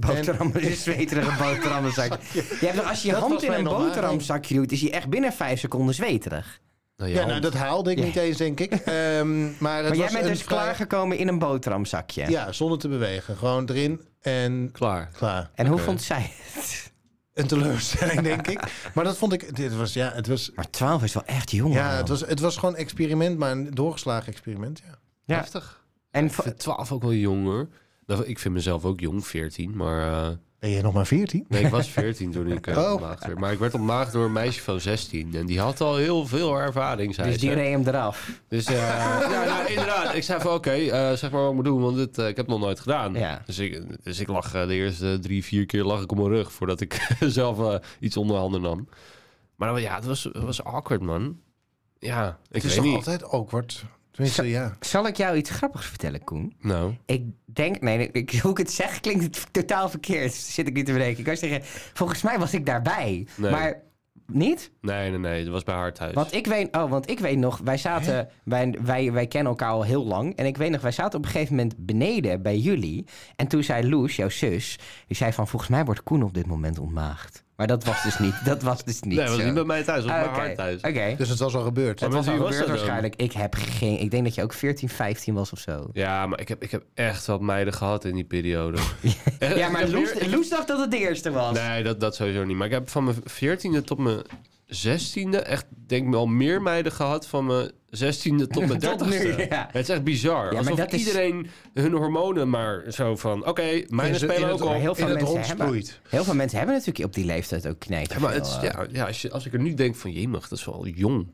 Speaker 3: boterham, de zweterige boterhammenzak. Je hebt nog, als je je
Speaker 2: Dat
Speaker 3: hand
Speaker 2: was
Speaker 3: in
Speaker 2: mij
Speaker 3: een
Speaker 2: nog
Speaker 3: boterhamzakje doet, is hij echt binnen vijf seconden zweterig.
Speaker 1: Nou,
Speaker 2: Ja, nou, dat haalde ik
Speaker 3: Ja.
Speaker 2: niet eens, denk ik. Ehm, maar het
Speaker 3: Maar
Speaker 2: was
Speaker 3: jij bent
Speaker 2: een
Speaker 3: dus
Speaker 2: vrij-
Speaker 3: klaargekomen in een boterhamzakje.
Speaker 2: Ja, zonder te bewegen. Gewoon erin en
Speaker 1: Klaar.
Speaker 2: klaar.
Speaker 3: En hoe
Speaker 1: Oké.
Speaker 3: vond zij het?
Speaker 2: Een teleurstelling, denk ik. Maar dat vond ik... Dit was, ja, het was,
Speaker 3: Maar 12 is wel echt jong.
Speaker 2: ja,
Speaker 3: man.
Speaker 2: het was, het was gewoon een experiment, maar een doorgeslagen experiment, ja.
Speaker 3: Ja.
Speaker 1: Heftig.
Speaker 3: En
Speaker 1: Ik
Speaker 3: vo-
Speaker 1: vind 12 ook wel jong hoor. Nou, Ik vind mezelf ook jong, 14. Maar eh,
Speaker 2: Ben je nog maar 14?
Speaker 1: nee, ik was 14 toen ik eh,
Speaker 2: Oh.
Speaker 1: ontmaagd werd. Maar ik werd ontmaagd door een meisje van 16. En die had al heel veel ervaring, zei
Speaker 3: dus
Speaker 1: ze.
Speaker 3: die reed hem eraf.
Speaker 1: Dus eh, ja, nou, inderdaad. Ik zei van, oké, eh, zeg maar wat ik moet doen, want dit, eh, ik heb het nog nooit gedaan.
Speaker 3: Ja.
Speaker 1: Dus, ik, dus ik lag eh, de eerste drie, vier keer lag ik op mijn rug voordat ik zelf eh, iets onder handen nam. Maar dan- ja, het was, het was awkward, man. Ja, ik
Speaker 2: Het is
Speaker 1: weet
Speaker 2: toch
Speaker 1: niet.
Speaker 2: altijd awkward? Tenminste, ja.
Speaker 3: Zal ik jou iets grappigs vertellen, Koen?
Speaker 1: Nou,
Speaker 3: Ik denk, nee, nee, ik, hoe ik het zeg klinkt het totaal verkeerd. Zit ik niet te bedenken. Ik was zeggen, volgens mij was ik daarbij.
Speaker 1: Nee.
Speaker 3: Maar niet?
Speaker 1: nee, nee, nee. Dat was bij haar thuis.
Speaker 3: Want ik weet, oh, want ik weet nog, wij zaten, wij, wij, wij kennen elkaar al heel lang. En ik weet nog, wij zaten op een gegeven moment beneden bij jullie. En toen zei Loes, jouw zus, die zei van, volgens mij wordt Koen op dit moment ontmaagd. Maar dat was dus niet, dat was dus niet
Speaker 1: nee, dat
Speaker 3: zo.
Speaker 1: was niet bij mij thuis. Dat was
Speaker 3: Ah,
Speaker 1: bij
Speaker 3: oké,
Speaker 1: haar thuis.
Speaker 3: Oké,
Speaker 2: Dus het was al gebeurd.
Speaker 3: het
Speaker 1: met
Speaker 3: was al
Speaker 1: wie was
Speaker 3: gebeurd
Speaker 1: dat dan?
Speaker 3: waarschijnlijk. Ik heb geen, ik denk dat je ook 14, 15 was of zo.
Speaker 1: Ja, maar ik heb, ik heb echt wat meiden gehad in die periode. Echt,
Speaker 3: Ja,
Speaker 1: ik
Speaker 3: maar
Speaker 1: heb
Speaker 3: Loes,
Speaker 1: meer- ik-
Speaker 3: Loes dacht dat het de eerste was.
Speaker 1: Nee, dat, dat sowieso niet. Maar ik heb van mijn 14e tot mijn 16e echt, denk ik, al meer meiden gehad van mijn 16e tot mijn
Speaker 3: Tot
Speaker 1: 30e.
Speaker 3: nu, ja.
Speaker 1: Het is echt bizar.
Speaker 3: maar
Speaker 1: Alsof
Speaker 3: dat is-
Speaker 1: iedereen hun hormonen maar zo van, oké,
Speaker 2: In
Speaker 1: mijne
Speaker 2: het- in
Speaker 1: spelen
Speaker 2: het-
Speaker 1: ook al.
Speaker 3: Maar heel veel,
Speaker 2: In het
Speaker 3: mensen
Speaker 2: rond
Speaker 3: hebben,
Speaker 2: sproeit.
Speaker 3: heel veel mensen hebben natuurlijk op die leeftijd ook knijpen. eh,
Speaker 1: Ja, maar het, is- ja, ja, als, je, als ik er nu denk van, jemig, dat is wel jong.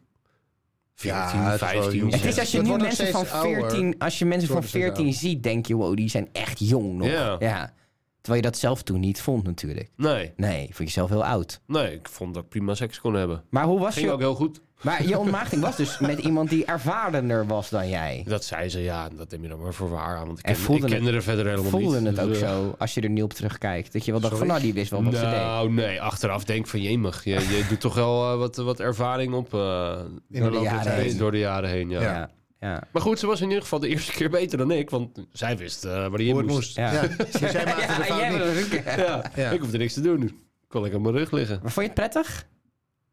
Speaker 1: 14,
Speaker 2: het is wel
Speaker 1: 15.
Speaker 2: jong.
Speaker 1: Ja,
Speaker 3: Het is als je
Speaker 2: Dat
Speaker 3: nu
Speaker 2: wordt nog
Speaker 3: mensen van
Speaker 2: steeds ouder.
Speaker 3: 14, als je mensen van
Speaker 2: wordt steeds
Speaker 3: 14 ziet, denk je, wow, die zijn echt jong nog.
Speaker 1: Ja.
Speaker 3: Ja. Terwijl je dat zelf toen niet vond natuurlijk.
Speaker 1: Nee,
Speaker 3: Nee, vond je jezelf heel oud.
Speaker 1: nee, ik vond dat ik prima seks kon hebben.
Speaker 3: Maar hoe was
Speaker 1: Ging
Speaker 3: je...
Speaker 1: ook heel goed.
Speaker 3: Maar je ontmaagding was dus met iemand die ervarener was dan jij.
Speaker 1: Dat zei ze, ja, dat neem je dan maar voor waar aan. Want ik,
Speaker 3: En
Speaker 1: ken, ik
Speaker 3: voelde het-
Speaker 1: kende er verder helemaal
Speaker 3: Voelde
Speaker 1: niet.
Speaker 3: het
Speaker 1: Dus,
Speaker 3: ook
Speaker 1: eh,
Speaker 3: zo, als je er nu op terugkijkt? Dat je wel dacht van, nou, die wist wel wat ze deed.
Speaker 1: Nou, nee, achteraf denk ik van jemig. Je, je doet toch wel eh, wat, wat ervaring op eh,
Speaker 2: In de loop der
Speaker 3: jaren
Speaker 2: tijd.
Speaker 3: heen.
Speaker 1: door de jaren heen. Ja.
Speaker 3: Ja. Ja.
Speaker 1: Maar goed, ze was in ieder geval de eerste keer beter dan ik, want zij wist eh, waar die in
Speaker 2: Hoe het
Speaker 1: moest.
Speaker 2: moest.
Speaker 3: Ja.
Speaker 2: Ja. Zij zij maakte de
Speaker 3: Ja,
Speaker 2: fout
Speaker 3: jij
Speaker 2: niet.
Speaker 3: wil een ruk-
Speaker 1: Ja,
Speaker 2: Ja.
Speaker 1: ik hoefde niks te doen. Kon ik op mijn rug liggen.
Speaker 3: Maar vond je het prettig?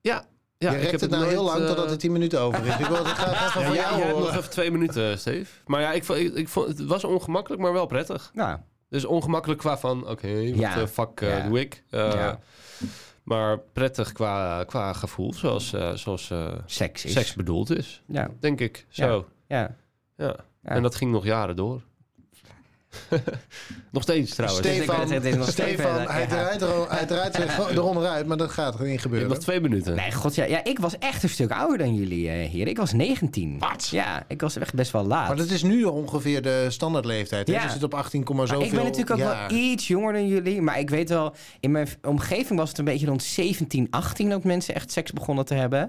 Speaker 1: Ja,
Speaker 2: Je
Speaker 1: ja
Speaker 2: rekt het, nou heel lang totdat het 10 minuten over is. Ik wil het graag even
Speaker 1: eh, Ja,
Speaker 2: van
Speaker 1: jij-
Speaker 2: jou
Speaker 1: jij hebt nog
Speaker 2: horen.
Speaker 1: even twee minuten, eh, Steve. Maar ja, ik, vond- ik, ik vond, het was ongemakkelijk, maar wel prettig.
Speaker 3: Nou,
Speaker 1: Dus ongemakkelijk qua van, oké, wat
Speaker 3: Ja.
Speaker 1: eh, fuck eh,
Speaker 3: Ja.
Speaker 1: doe ik? Eh,
Speaker 3: Ja.
Speaker 1: Maar prettig qua, qua gevoel, zoals, eh, zoals eh,
Speaker 3: seks is.
Speaker 1: seks bedoeld is.
Speaker 3: Ja.
Speaker 1: Denk ik, zo.
Speaker 3: ja.
Speaker 1: Ja.
Speaker 3: Ja.
Speaker 1: En dat ging nog jaren door. nog steeds trouwens.
Speaker 3: Steeds. Dus Ik
Speaker 2: Stefan,
Speaker 3: wou net zeggen, het is nog
Speaker 2: Stefan,
Speaker 3: Stefan,
Speaker 2: hij
Speaker 3: ja.
Speaker 2: draait er- hij draait zich eronder uit, maar dat gaat er niet
Speaker 1: Je hebt
Speaker 2: gebeuren.
Speaker 1: nog twee minuten.
Speaker 3: Nee, god ja. ja. Ik was echt een stuk ouder dan jullie, eh heren. Ik was 19.
Speaker 1: Wat?
Speaker 3: Ja, ik was echt best wel laat.
Speaker 2: Maar dat is nu ongeveer de standaardleeftijd. hè?
Speaker 3: Ja.
Speaker 2: Je zit op 18, komma
Speaker 3: Maar
Speaker 2: zoveel
Speaker 3: ik ben natuurlijk ook
Speaker 2: jaar.
Speaker 3: wel iets jonger dan jullie. Maar ik weet wel, in mijn v- omgeving was het een beetje rond 17, 18 dat mensen echt seks begonnen te hebben.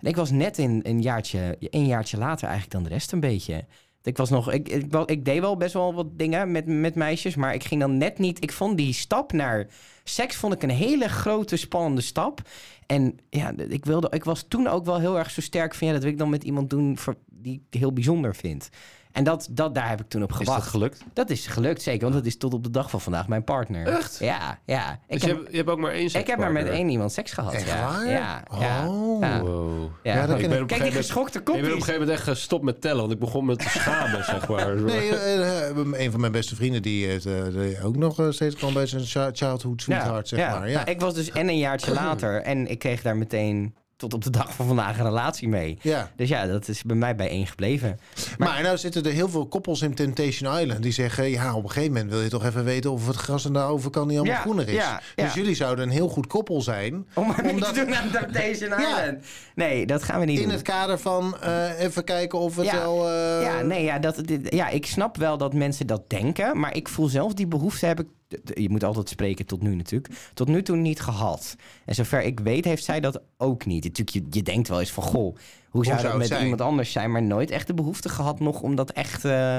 Speaker 3: En ik was net in, een, jaartje, een jaartje later eigenlijk dan de rest een beetje. Ik, was nog, ik, ik, wel- ik deed wel best wel wat dingen met, met meisjes, maar ik ging dan net niet. Ik vond die stap naar seks vond ik een hele grote, spannende stap. En ja, d- ik, wilde, ik was toen ook wel heel erg zo sterk van ja, dat wil ik dan met iemand doen voor, die ik heel bijzonder vind. En dat, dat, daar heb ik toen op
Speaker 1: Is
Speaker 3: gewacht.
Speaker 1: dat gelukt?
Speaker 3: Dat is gelukt, zeker. Want dat is tot op de dag van vandaag mijn partner.
Speaker 1: Echt?
Speaker 3: Ja, ja. Ik
Speaker 1: Dus je,
Speaker 3: heb,
Speaker 1: hebt, je hebt ook maar één
Speaker 3: ik heb maar met
Speaker 1: sekspartner.
Speaker 3: één iemand seks gehad.
Speaker 2: Echt
Speaker 3: ja.
Speaker 2: waar?
Speaker 3: Ja, ja,
Speaker 2: Oh.
Speaker 3: ja,
Speaker 1: Wow.
Speaker 3: ja.
Speaker 2: Ja, dat
Speaker 1: Ik ben op
Speaker 2: ken ik.
Speaker 1: een
Speaker 3: Kijk die
Speaker 1: gegeven moment-
Speaker 3: geschokte
Speaker 1: Ik ben op een
Speaker 3: kopjes.
Speaker 1: gegeven moment echt gestopt met tellen, want ik begon me te schamen, zeg maar.
Speaker 2: Nee, eh, eh, een van mijn beste vrienden die heeft eh, die ook nog eh, steeds gewoon bij zijn cha- childhood sweetheart, zeg maar. Ja.
Speaker 3: Nou, ik was dus en een jaartje later. En ik kreeg daar meteen tot op de dag van vandaag een relatie mee.
Speaker 2: ja.
Speaker 3: Dus ja, dat is bij mij bij één gebleven.
Speaker 2: Maar, nou zitten er heel veel koppels in Temptation Island die zeggen... ja, op een gegeven moment wil je toch even weten of het gras aan de overkant niet allemaal
Speaker 3: Ja,
Speaker 2: groener is.
Speaker 3: ja,
Speaker 2: Dus
Speaker 3: ja.
Speaker 2: jullie zouden een heel goed koppel zijn...
Speaker 3: Om maar mee
Speaker 2: Omdat-
Speaker 3: te doen aan Temptation
Speaker 2: Ja.
Speaker 3: Island. Nee, dat gaan we niet
Speaker 2: in
Speaker 3: doen.
Speaker 2: het kader van eh, even kijken of het
Speaker 3: Ja.
Speaker 2: wel... eh,
Speaker 3: Ja, nee, ja, dat, dit- ja, ik snap wel dat mensen dat denken. Maar ik voel zelf die behoefte heb ik... d- d- Je moet altijd spreken tot nu natuurlijk. Tot nu toe niet gehad. En zover ik weet heeft zij dat ook niet. Natuurlijk, je, je denkt wel eens van... Goh, hoe zou
Speaker 2: zou
Speaker 3: dat
Speaker 2: het
Speaker 3: met
Speaker 2: zijn?
Speaker 3: iemand anders zijn? Maar nooit echt de behoefte gehad nog om dat echt... eh,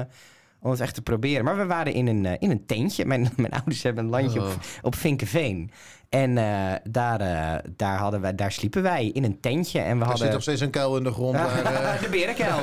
Speaker 3: om het echt te proberen. Maar we waren in een, eh, in een tentje. Mijn, mijn ouders hebben een landje
Speaker 1: Oh.
Speaker 3: op, op Vinkenveen. En eh, daar, eh, daar, hadden wij, daar sliepen wij in een tentje. En we
Speaker 2: Er
Speaker 3: hadden...
Speaker 2: zit nog steeds een kuil in de grond. Maar, eh,
Speaker 3: De berenkel.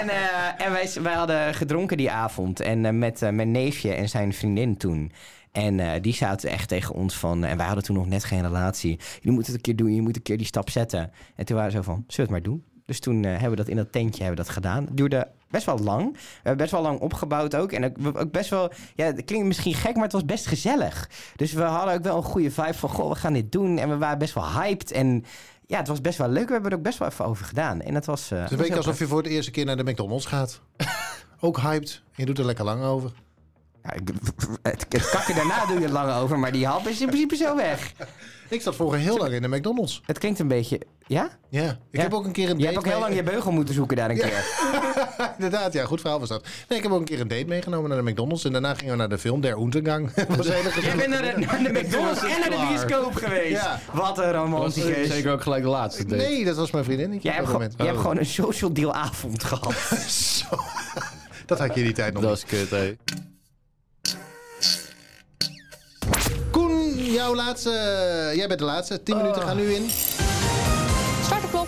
Speaker 3: en eh, en wij, wij hadden gedronken die avond. En eh, met eh, mijn neefje en zijn vriendin toen. En eh, die zaten echt tegen ons van... En wij hadden toen nog net geen relatie. Je moet het een keer doen, je moet een keer die stap zetten. En toen waren we zo van, zullen we het maar doen? Dus toen eh, hebben we dat in dat tentje hebben we dat gedaan. Het duurde best wel lang. We hebben best wel lang opgebouwd ook. En ook, we- ook best wel... Ja, het klinkt misschien gek, maar het was best gezellig. Dus we hadden ook wel een goede vibe van... Goh, we gaan dit doen. En we waren best wel hyped. En ja, het was best wel leuk. We hebben er ook best wel even over gedaan. En dat was... eh,
Speaker 2: Het is Dus een
Speaker 3: was
Speaker 2: beetje
Speaker 3: heel
Speaker 2: alsof je voor de eerste keer naar de McDonald's gaat. Ook hyped. En je doet er lekker lang over.
Speaker 3: Ja, ik- het, het kakken daarna doe je het lang over, maar die hap is in principe zo weg.
Speaker 2: Ik zat vroeger heel lang in de McDonald's.
Speaker 3: Het klinkt een beetje... Ja?
Speaker 2: Ja, ik
Speaker 3: Ja.
Speaker 2: heb ook een keer een
Speaker 3: Je
Speaker 2: date...
Speaker 3: hebt ook heel lang je beugel moeten zoeken daar een keer.
Speaker 2: Inderdaad, ja, goed verhaal was dat. Nee, ik heb ook een keer een date meegenomen naar de McDonald's. En daarna gingen we naar de film Der Untergang. Dat was een hele
Speaker 3: Jij bent
Speaker 2: gezellige-
Speaker 3: naar de, naar de McDonald's en naar de bioscoop geweest.
Speaker 2: Ja.
Speaker 3: Wat een
Speaker 1: was
Speaker 3: romanticus.
Speaker 1: zeker ook gelijk de laatste date.
Speaker 2: Nee, dat was mijn vriendin.
Speaker 3: Jij hebt, gewoon-
Speaker 2: moment.
Speaker 3: jij hebt
Speaker 1: Oh.
Speaker 3: gewoon een social deal avond gehad.
Speaker 2: Zo. Dat had je in die tijd nog
Speaker 1: Dat is kut, hé.
Speaker 2: niet. Koen, jouw laatste... Jij bent de laatste. 10 minuten
Speaker 1: Ah.
Speaker 2: gaan nu in.
Speaker 4: Start de klok.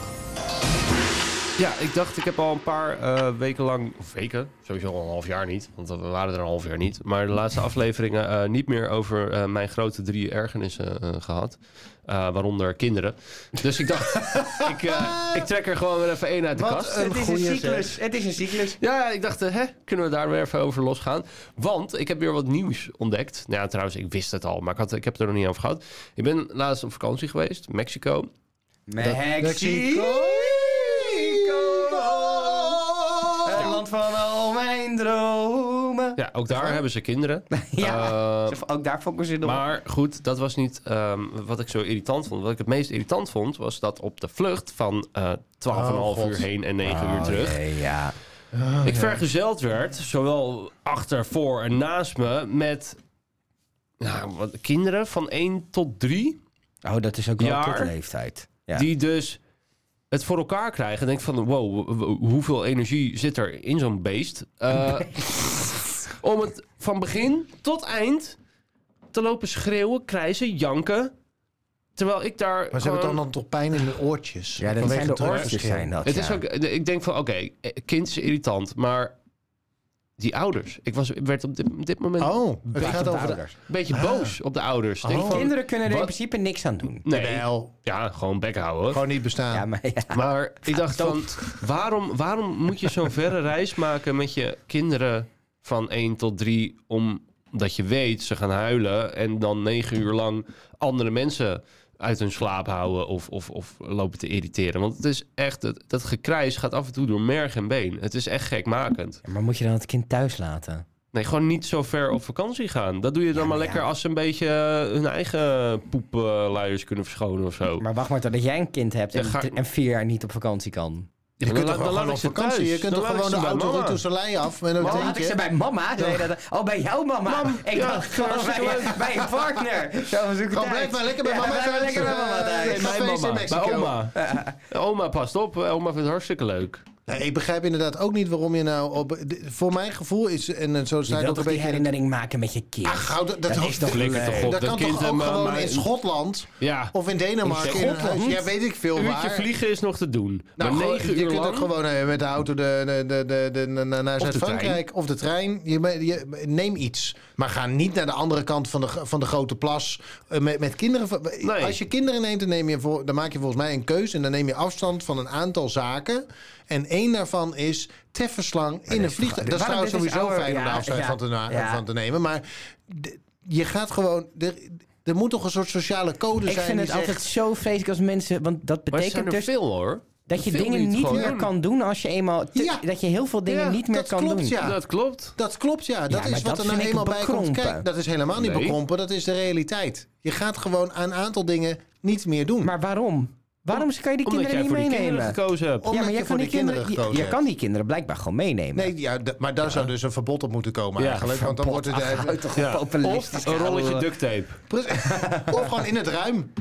Speaker 1: Ja, ik dacht, ik heb al een paar eh, weken lang, of weken, sowieso al een half jaar niet, want we waren er een half jaar niet, maar de laatste afleveringen eh, niet meer over eh, mijn grote drie ergernissen eh, gehad, Eh, waaronder kinderen. Dus ik dacht, ik, eh, ik trek er gewoon weer even één uit de kast.
Speaker 2: Een
Speaker 3: het is een
Speaker 2: goeie
Speaker 3: cyclus. Het is een cyclus.
Speaker 1: Ja, ik dacht, eh, hè, kunnen we daar weer even over losgaan? Want ik heb weer wat nieuws ontdekt. Nou ja, trouwens, ik wist het al, maar ik, had, ik heb het er nog niet over gehad. Ik ben laatst op vakantie geweest, Mexico.
Speaker 3: Mexico. Het land van al mijn dromen.
Speaker 1: Ja, ook daar hebben ze kinderen.
Speaker 3: Ja.
Speaker 1: Eh,
Speaker 3: Zo van, Ook daar focussen ze op.
Speaker 1: maar goed, dat was niet ehm, wat ik zo irritant vond. Wat ik het meest irritant vond, was dat op de vlucht van eh 12,5
Speaker 2: Oh, God.
Speaker 1: uur heen en 9 uur
Speaker 3: Oh,
Speaker 1: terug.
Speaker 3: nee, ja.
Speaker 1: Ik vergezeld werd, zowel achter, voor en naast me, met nou, wat, kinderen van 1 tot 3.
Speaker 3: Oh, dat is ook wel
Speaker 1: Jaar.
Speaker 3: tot leeftijd. Ja.
Speaker 1: Die dus het voor elkaar krijgen. En denk van, wow, w- w- hoeveel energie zit er in zo'n beest? Eh, om het van begin tot eind te lopen schreeuwen, krijzen, janken. Terwijl ik daar
Speaker 2: Maar ze
Speaker 1: gewoon-
Speaker 2: hebben dan, dan toch pijn in hun oortjes?
Speaker 3: ja, dat
Speaker 2: Vanwege
Speaker 3: zijn de
Speaker 2: het
Speaker 3: oortjes zijn dat.
Speaker 1: Het
Speaker 3: ja.
Speaker 1: is ook, ik denk van, oké, eh, kind is irritant, maar die ouders. Ik was, werd op dit, op dit moment
Speaker 2: Oh, het gaat over de...
Speaker 1: een beetje boos op de ouders. Denk
Speaker 2: Oh.
Speaker 1: van,
Speaker 3: Kinderen kunnen er in
Speaker 1: Wat?
Speaker 3: principe niks aan doen.
Speaker 1: nee,
Speaker 2: Wel,
Speaker 1: ja, gewoon bek houden.
Speaker 2: gewoon niet bestaan.
Speaker 3: Ja, maar ja.
Speaker 2: Ah,
Speaker 1: Maar ik dacht van, waarom, waarom moet je zo'n verre reis maken met je kinderen van 1 tot 3 omdat je weet ze gaan huilen en dan 9 uur lang andere mensen uit hun slaap houden of, of, of lopen te irriteren. Want het is echt, dat, dat gekrijs gaat af en toe door merg en been. Het is echt gekmakend.
Speaker 3: Ja, maar moet je dan het kind thuis laten?
Speaker 1: Nee, gewoon niet zo ver op vakantie gaan. Dat doe je dan maar lekker als ze een beetje eh, hun eigen poepluiers kunnen verschonen of zo.
Speaker 3: Maar wacht maar totdat jij een kind hebt en,
Speaker 1: Ja, ga-
Speaker 3: drie- en vier jaar niet op vakantie kan.
Speaker 2: Je kunt toch
Speaker 1: dan laat
Speaker 2: gewoon
Speaker 1: ik
Speaker 2: op
Speaker 1: ze
Speaker 2: vakantie?
Speaker 1: thuis.
Speaker 2: Je kunt
Speaker 1: Dan
Speaker 2: toch
Speaker 1: laat ik
Speaker 2: gewoon
Speaker 1: ze
Speaker 2: de
Speaker 1: bij
Speaker 2: auto
Speaker 1: mama.
Speaker 2: rond de lijn af met een
Speaker 3: Oh, laat ik ze
Speaker 2: tentje?
Speaker 3: bij mama? Zei je dat, oh, bij jouw mama? ik
Speaker 1: ja,
Speaker 3: dacht gewoon
Speaker 1: hartstikke
Speaker 3: bij, bij je partner. Zo, we zoeken
Speaker 2: Gewoon
Speaker 3: tijd.
Speaker 2: blijf maar lekker bij
Speaker 3: Ja,
Speaker 2: mama
Speaker 3: blijf maar
Speaker 2: thuis.
Speaker 3: lekker bij mama
Speaker 2: Eh,
Speaker 3: thuis.
Speaker 2: nee, maar- Cafés in Mexico.
Speaker 1: Bij oma. Eh, Oma past op. Oma vindt het hartstikke leuk.
Speaker 2: Nee, Nou, ik begrijp inderdaad ook niet waarom je nou op... de- Voor mijn gevoel is... En eh, zo
Speaker 3: Je
Speaker 2: sta ik
Speaker 3: wilt
Speaker 2: ook een
Speaker 3: toch die
Speaker 2: beetje... in-
Speaker 3: herinnering maken met je kind?
Speaker 2: Ach, hou, dat, dat,
Speaker 3: is toch
Speaker 1: Flikker toch op.
Speaker 2: dat
Speaker 1: dat
Speaker 2: kan
Speaker 1: kind
Speaker 2: toch ook
Speaker 1: hem, eh,
Speaker 2: gewoon
Speaker 1: maar-
Speaker 2: in Schotland
Speaker 1: Ja.
Speaker 2: of in Denemarken?
Speaker 1: In
Speaker 2: in een huis?
Speaker 1: Schotland?
Speaker 2: Ja, weet ik veel
Speaker 1: Een uurtje
Speaker 2: waar.
Speaker 1: vliegen is nog te doen.
Speaker 2: Nou,
Speaker 1: maar
Speaker 2: gewoon-
Speaker 1: negen
Speaker 2: je
Speaker 1: uur
Speaker 2: kunt
Speaker 1: lang...
Speaker 2: ook gewoon eh, met de auto de, de, de, de, de- na- na- naar Zuid-Frankrijk of de trein. Je, me- je- neem iets. Maar ga niet naar de andere kant van de, gro- van de grote plas eh, met, met kinderen. van-
Speaker 1: Nee.
Speaker 2: Als je kinderen neemt, dan, neem je voor, dan maak je volgens mij een keuze. En dan neem je afstand van een aantal zaken. En één daarvan is teffenslang in een vliegtuig. Dat is
Speaker 3: waarom
Speaker 2: trouwens
Speaker 3: dit is
Speaker 2: sowieso
Speaker 3: ouder?
Speaker 2: fijn om
Speaker 3: Ja,
Speaker 2: daar afstand
Speaker 3: ja,
Speaker 2: van, te na-
Speaker 3: ja.
Speaker 2: van te nemen. Maar d- je gaat gewoon... Er, er moet toch een soort sociale code
Speaker 3: Ik
Speaker 2: zijn
Speaker 3: vind
Speaker 2: die
Speaker 3: het altijd
Speaker 2: zegt...
Speaker 3: zo vreselijk als mensen... Want dat
Speaker 1: Maar het zijn
Speaker 3: betekent
Speaker 1: er
Speaker 3: dus
Speaker 1: veel hoor.
Speaker 3: dat je
Speaker 1: Veel
Speaker 3: dingen niet
Speaker 1: gewoon
Speaker 3: meer
Speaker 1: doen.
Speaker 3: kan doen als je eenmaal... te-
Speaker 2: Ja.
Speaker 3: Dat je heel veel dingen
Speaker 2: Ja,
Speaker 3: niet meer
Speaker 2: dat
Speaker 3: kan
Speaker 2: klopt,
Speaker 3: doen.
Speaker 2: ja.
Speaker 1: Dat klopt.
Speaker 2: Dat klopt, ja. Dat
Speaker 3: maar
Speaker 2: is
Speaker 3: dat
Speaker 2: wat er nou
Speaker 3: vind ik
Speaker 2: eenmaal bij komt.
Speaker 3: bekrompen.
Speaker 2: Kijk, dat is helemaal niet
Speaker 1: Nee.
Speaker 2: bekrompen. Dat is de realiteit. Je gaat gewoon aan een aantal dingen niet meer doen.
Speaker 3: Maar waarom? Waarom kan je die
Speaker 1: Omdat
Speaker 3: kinderen
Speaker 1: jij
Speaker 3: niet
Speaker 1: voor die kinderen
Speaker 3: meenemen?
Speaker 1: gekozen hebt.
Speaker 2: Omdat
Speaker 3: Ja, maar
Speaker 2: je
Speaker 3: jij kan
Speaker 2: voor
Speaker 3: die kinderen,
Speaker 2: gekozen
Speaker 3: je, je
Speaker 2: hebt.
Speaker 3: kan die kinderen blijkbaar gewoon meenemen.
Speaker 2: Nee, ja, d- maar daar zou dus een verbod op moeten komen
Speaker 1: Ja,
Speaker 2: eigenlijk. Want dan
Speaker 3: Pot,
Speaker 2: wordt het...
Speaker 3: ach,
Speaker 2: even-
Speaker 3: houd Oh, toch op,
Speaker 1: Ja.
Speaker 3: populistisch
Speaker 1: Of een
Speaker 3: gehouden.
Speaker 1: rolletje duct tape.
Speaker 2: Precies. of gewoon in het ruim.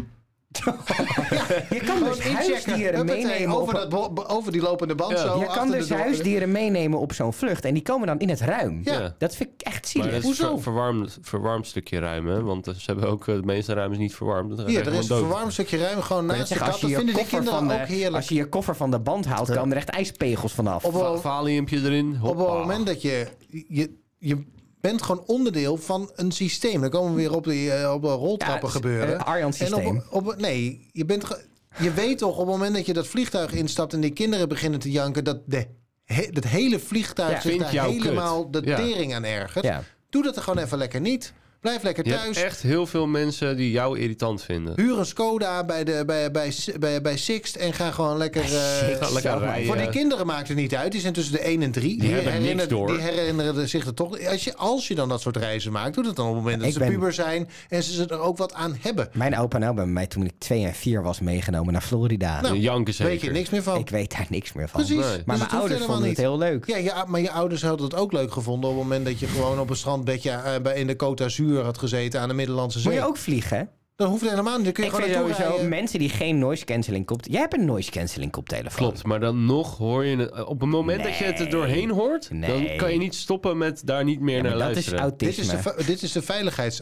Speaker 3: Je kan dus
Speaker 2: Gewoon inchecken.
Speaker 3: huisdieren
Speaker 2: Huppatee,
Speaker 3: meenemen.
Speaker 2: Over,
Speaker 3: op-
Speaker 2: dat bo- bo- over die lopende band
Speaker 1: Ja.
Speaker 2: zo.
Speaker 3: Je
Speaker 2: achter
Speaker 3: kan
Speaker 2: de
Speaker 3: dus
Speaker 2: deur.
Speaker 3: huisdieren meenemen op zo'n vlucht. En die komen dan in het ruim.
Speaker 2: Ja.
Speaker 1: Ja.
Speaker 3: Dat vind ik echt
Speaker 1: Maar
Speaker 3: zielig.
Speaker 1: dat is
Speaker 2: Hoezo?
Speaker 1: een verwarmd, verwarmd stukje ruim, hè? Want eh, ze hebben ook eh, de meeste ruimtes niet verwarmd. Dat
Speaker 2: Hier, er is een
Speaker 1: gewoon dood.
Speaker 2: verwarmd stukje ruim gewoon
Speaker 3: Maar
Speaker 2: naast de
Speaker 3: zeg,
Speaker 2: kat. Dat vinden die kinderen
Speaker 3: van de,
Speaker 2: ook heerlijk.
Speaker 3: als je je koffer van de band haalt, komen er echt ijspegels vanaf.
Speaker 2: Op-
Speaker 1: Va- Valiumpje erin.
Speaker 2: Op het
Speaker 1: hoppa.
Speaker 2: moment dat je, je... Je bent gewoon onderdeel van een systeem. Dan komen we weer op, die, eh, op de
Speaker 3: Ja, het
Speaker 2: roltrappen
Speaker 3: is
Speaker 2: gebeuren.
Speaker 3: een
Speaker 1: eh,
Speaker 3: Arjan-systeem.
Speaker 2: En op, op, nee, je, bent ge- je weet toch op het moment dat je dat vliegtuig instapt... en die kinderen beginnen te janken... dat de, he- dat hele vliegtuig
Speaker 3: Ja.
Speaker 2: zich
Speaker 1: Vindt
Speaker 2: daar
Speaker 1: jou kut.
Speaker 2: helemaal de
Speaker 1: Ja.
Speaker 2: tering aan ergert.
Speaker 3: Ja.
Speaker 2: Doe dat er gewoon even lekker niet. Blijf lekker
Speaker 1: Je hebt
Speaker 2: thuis.
Speaker 1: echt heel veel mensen die jou irritant vinden.
Speaker 2: Huur een Skoda bij, de, bij, bij, bij, bij Sixt en ga gewoon lekker... eh,
Speaker 1: Ga lekker rijden.
Speaker 2: Voor die kinderen maakt het niet uit. Die zijn tussen de 1 en 3. Die,
Speaker 1: hebben niks
Speaker 2: herinneren,
Speaker 1: door.
Speaker 2: die herinneren zich er toch. Als je, als je dan dat soort reizen maakt, doe dat dan op het moment dat
Speaker 3: Ik
Speaker 2: ze
Speaker 3: ben-
Speaker 2: puber zijn en ze er ook wat aan hebben.
Speaker 3: Mijn opa en oma hebben mij toen ik twee en vier was meegenomen naar Florida.
Speaker 1: De janken zeker.
Speaker 2: Weet je niks meer van.
Speaker 3: ik weet daar niks meer van.
Speaker 2: Nou. Precies.
Speaker 1: Nee.
Speaker 2: Dus
Speaker 3: Maar
Speaker 2: het
Speaker 3: mijn
Speaker 2: hoeft
Speaker 3: ouders
Speaker 2: helemaal
Speaker 3: vonden het
Speaker 2: niet.
Speaker 3: heel leuk.
Speaker 2: Ja, ja, maar je ouders hadden het ook leuk gevonden op het moment dat je gewoon op een strandbedje eh, bij- in de Côte d'Azur had gezeten aan de Middellandse Zee.
Speaker 3: Moet je ook vliegen?
Speaker 2: Dan hoeft het helemaal niet. Dan kun je
Speaker 3: ik
Speaker 2: gewoon
Speaker 3: vind
Speaker 2: naartoe
Speaker 3: sowieso
Speaker 2: rijden.
Speaker 3: mensen die geen noise cancelling kopt. Jij hebt een noise cancelling koptelefoon.
Speaker 1: Klopt, maar dan nog hoor je het. eh, Op het moment dat je het er doorheen hoort,
Speaker 3: Nee.
Speaker 1: dan kan je niet stoppen met daar niet meer
Speaker 3: Ja, maar
Speaker 1: naar
Speaker 3: dat is
Speaker 1: luisteren.
Speaker 2: Dit is
Speaker 3: autisme.
Speaker 2: de, ve- dit is de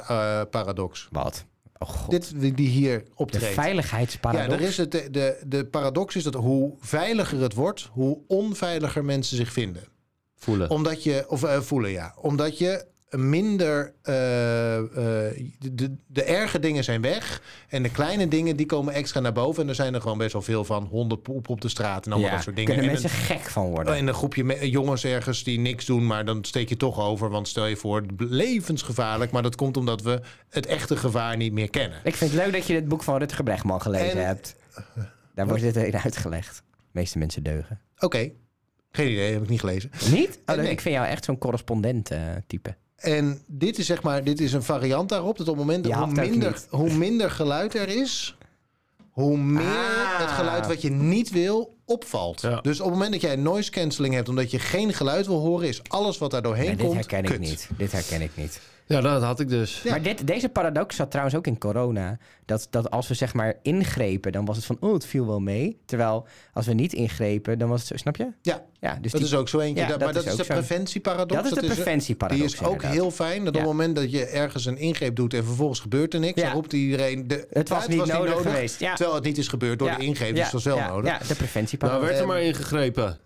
Speaker 2: veiligheidsparadox.
Speaker 3: Wat? Oh god.
Speaker 2: dit die hier
Speaker 3: de
Speaker 2: optreedt.
Speaker 3: veiligheidsparadox.
Speaker 2: Ja, er is het, de, de, de paradox is dat hoe veiliger het wordt, hoe onveiliger mensen zich vinden.
Speaker 1: Voelen.
Speaker 2: Omdat je, of eh, voelen ja, omdat je minder, eh, eh, de, de erge dingen zijn weg en de kleine dingen die komen extra naar boven. En er zijn er gewoon best wel veel van, hondenpoep op de straat en allemaal
Speaker 3: Ja,
Speaker 2: dat soort dingen. Oh,
Speaker 3: kunnen
Speaker 2: En
Speaker 3: mensen
Speaker 2: een-
Speaker 3: gek van worden.
Speaker 2: en een groepje me- jongens ergens die niks doen, maar dan steek je toch over. Want stel je voor, levensgevaarlijk. Maar dat komt omdat we het echte gevaar niet meer kennen.
Speaker 3: Ik vind het leuk dat je het boek van Rutger Bregman gelezen
Speaker 2: En-
Speaker 3: hebt. Daar wordt dit in uitgelegd. De meeste mensen deugen.
Speaker 2: Oké, geen idee, heb ik niet gelezen.
Speaker 3: Niet? Oh,
Speaker 2: Eh, nee.
Speaker 3: Ik vind jou echt zo'n correspondent eh, type.
Speaker 2: En dit is zeg maar, dit is een variant daarop. Dat op het moment dat
Speaker 3: Je
Speaker 2: hoe
Speaker 3: hapt ook
Speaker 2: minder,
Speaker 3: niet.
Speaker 2: hoe minder geluid er is, hoe meer
Speaker 3: Ah.
Speaker 2: het geluid wat je niet wil opvalt.
Speaker 1: Ja.
Speaker 2: Dus op het moment dat jij noise cancelling hebt, omdat je geen geluid wil horen, is alles wat daar doorheen
Speaker 3: Nee,
Speaker 2: komt.
Speaker 3: dit herken ik
Speaker 2: kut.
Speaker 3: niet. Dit herken ik niet.
Speaker 1: Ja, dat had ik dus.
Speaker 3: Maar dit, deze paradox zat trouwens ook in corona. Dat, dat als we zeg maar ingrepen, dan was het van, oh, het viel wel mee. Terwijl als we niet ingrepen, dan was het zo, snap je?
Speaker 2: Ja,
Speaker 3: Ja, dus
Speaker 2: dat
Speaker 3: die,
Speaker 2: is ook zo eentje.
Speaker 3: Ja,
Speaker 2: Dat-
Speaker 3: dat
Speaker 2: maar dat
Speaker 3: is
Speaker 2: is de
Speaker 3: ook zo'n-
Speaker 2: preventieparadox.
Speaker 3: dat is de preventieparadox.
Speaker 2: Die is ook
Speaker 3: inderdaad.
Speaker 2: heel fijn. Dat op het moment dat je ergens een ingreep doet en vervolgens gebeurt er niks,
Speaker 3: Ja.
Speaker 2: dan roept iedereen... De,
Speaker 3: Het was niet nodig geweest, ja.
Speaker 2: Terwijl het niet is gebeurd door
Speaker 3: Ja,
Speaker 2: de ingreep,
Speaker 3: ja,
Speaker 2: dus dat is wel
Speaker 3: ja,
Speaker 2: nodig.
Speaker 3: Ja, de
Speaker 1: Nou
Speaker 3: preventieparadox.
Speaker 1: werd er
Speaker 2: Ehm,
Speaker 1: maar ingegrepen.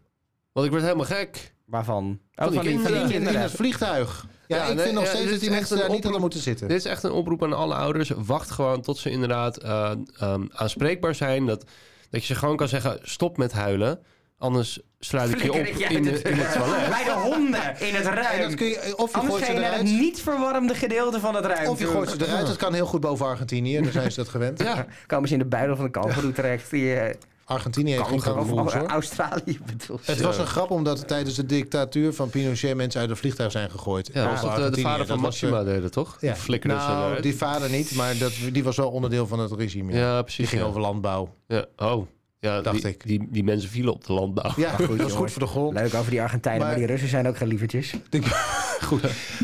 Speaker 1: Want ik werd helemaal gek.
Speaker 3: Waarvan? Oh,
Speaker 1: die
Speaker 3: van die, van die
Speaker 1: kinderen.
Speaker 2: In, in
Speaker 3: kinderen.
Speaker 2: het vliegtuig. Ja,
Speaker 1: Ja,
Speaker 2: ik
Speaker 1: nee,
Speaker 2: vind nog
Speaker 1: ja,
Speaker 2: steeds
Speaker 1: dit
Speaker 2: dat die
Speaker 1: is echt
Speaker 2: mensen
Speaker 1: een
Speaker 2: daar niet
Speaker 1: oproep.
Speaker 2: hadden moeten zitten.
Speaker 1: Dit is echt een oproep aan alle ouders. Wacht gewoon tot ze inderdaad eh, ehm, aanspreekbaar zijn. Dat, dat je ze gewoon kan zeggen, stop met huilen. Anders sluit ik je op
Speaker 3: Flikker ik
Speaker 1: in,
Speaker 3: je uit
Speaker 1: de,
Speaker 3: het-
Speaker 1: in het toilet.
Speaker 3: Bij de honden in het
Speaker 2: En
Speaker 3: ruim.
Speaker 2: dat kun je, of je
Speaker 3: Anders
Speaker 2: gooit
Speaker 3: ga
Speaker 2: ze
Speaker 3: je naar het
Speaker 2: eruit,
Speaker 3: niet verwarmde gedeelte van het ruim.
Speaker 2: of je gooit ze eruit. Dat kan heel goed boven Argentinië, daar zijn ze dat gewend.
Speaker 1: Ja,
Speaker 3: Komen ze in de buidel van de kangeroe terecht. Die, eh,
Speaker 2: Argentinië heeft geen
Speaker 3: of-
Speaker 2: kangeroes,
Speaker 3: of
Speaker 2: hoor.
Speaker 3: Australië bedoel
Speaker 2: Het was een grap omdat er tijdens de dictatuur van Pinochet mensen uit een vliegtuig zijn gegooid.
Speaker 1: ja, was
Speaker 2: Boven
Speaker 1: dat, eh, de
Speaker 2: Argentinië.
Speaker 1: vader van
Speaker 2: Dat was,
Speaker 1: Maxima
Speaker 2: eh,
Speaker 1: deed dat toch?
Speaker 2: Ja.
Speaker 1: Die flikkerde ze
Speaker 2: nou,
Speaker 1: eruit.
Speaker 2: die vader niet, maar dat, die was wel onderdeel van het regime. ja.
Speaker 1: Ja,
Speaker 2: die
Speaker 1: precies.
Speaker 2: ging
Speaker 1: ja.
Speaker 2: over landbouw.
Speaker 1: Ja, oh. Ja,
Speaker 2: Dacht
Speaker 1: die,
Speaker 2: ik.
Speaker 1: Die, die mensen vielen op de landbouw.
Speaker 2: Ja, goed, dat is goed
Speaker 3: jongens.
Speaker 2: voor de grond.
Speaker 3: Leuk over die Argentijnen, maar,
Speaker 2: Maar-
Speaker 3: die Russen zijn ook geen lievertjes.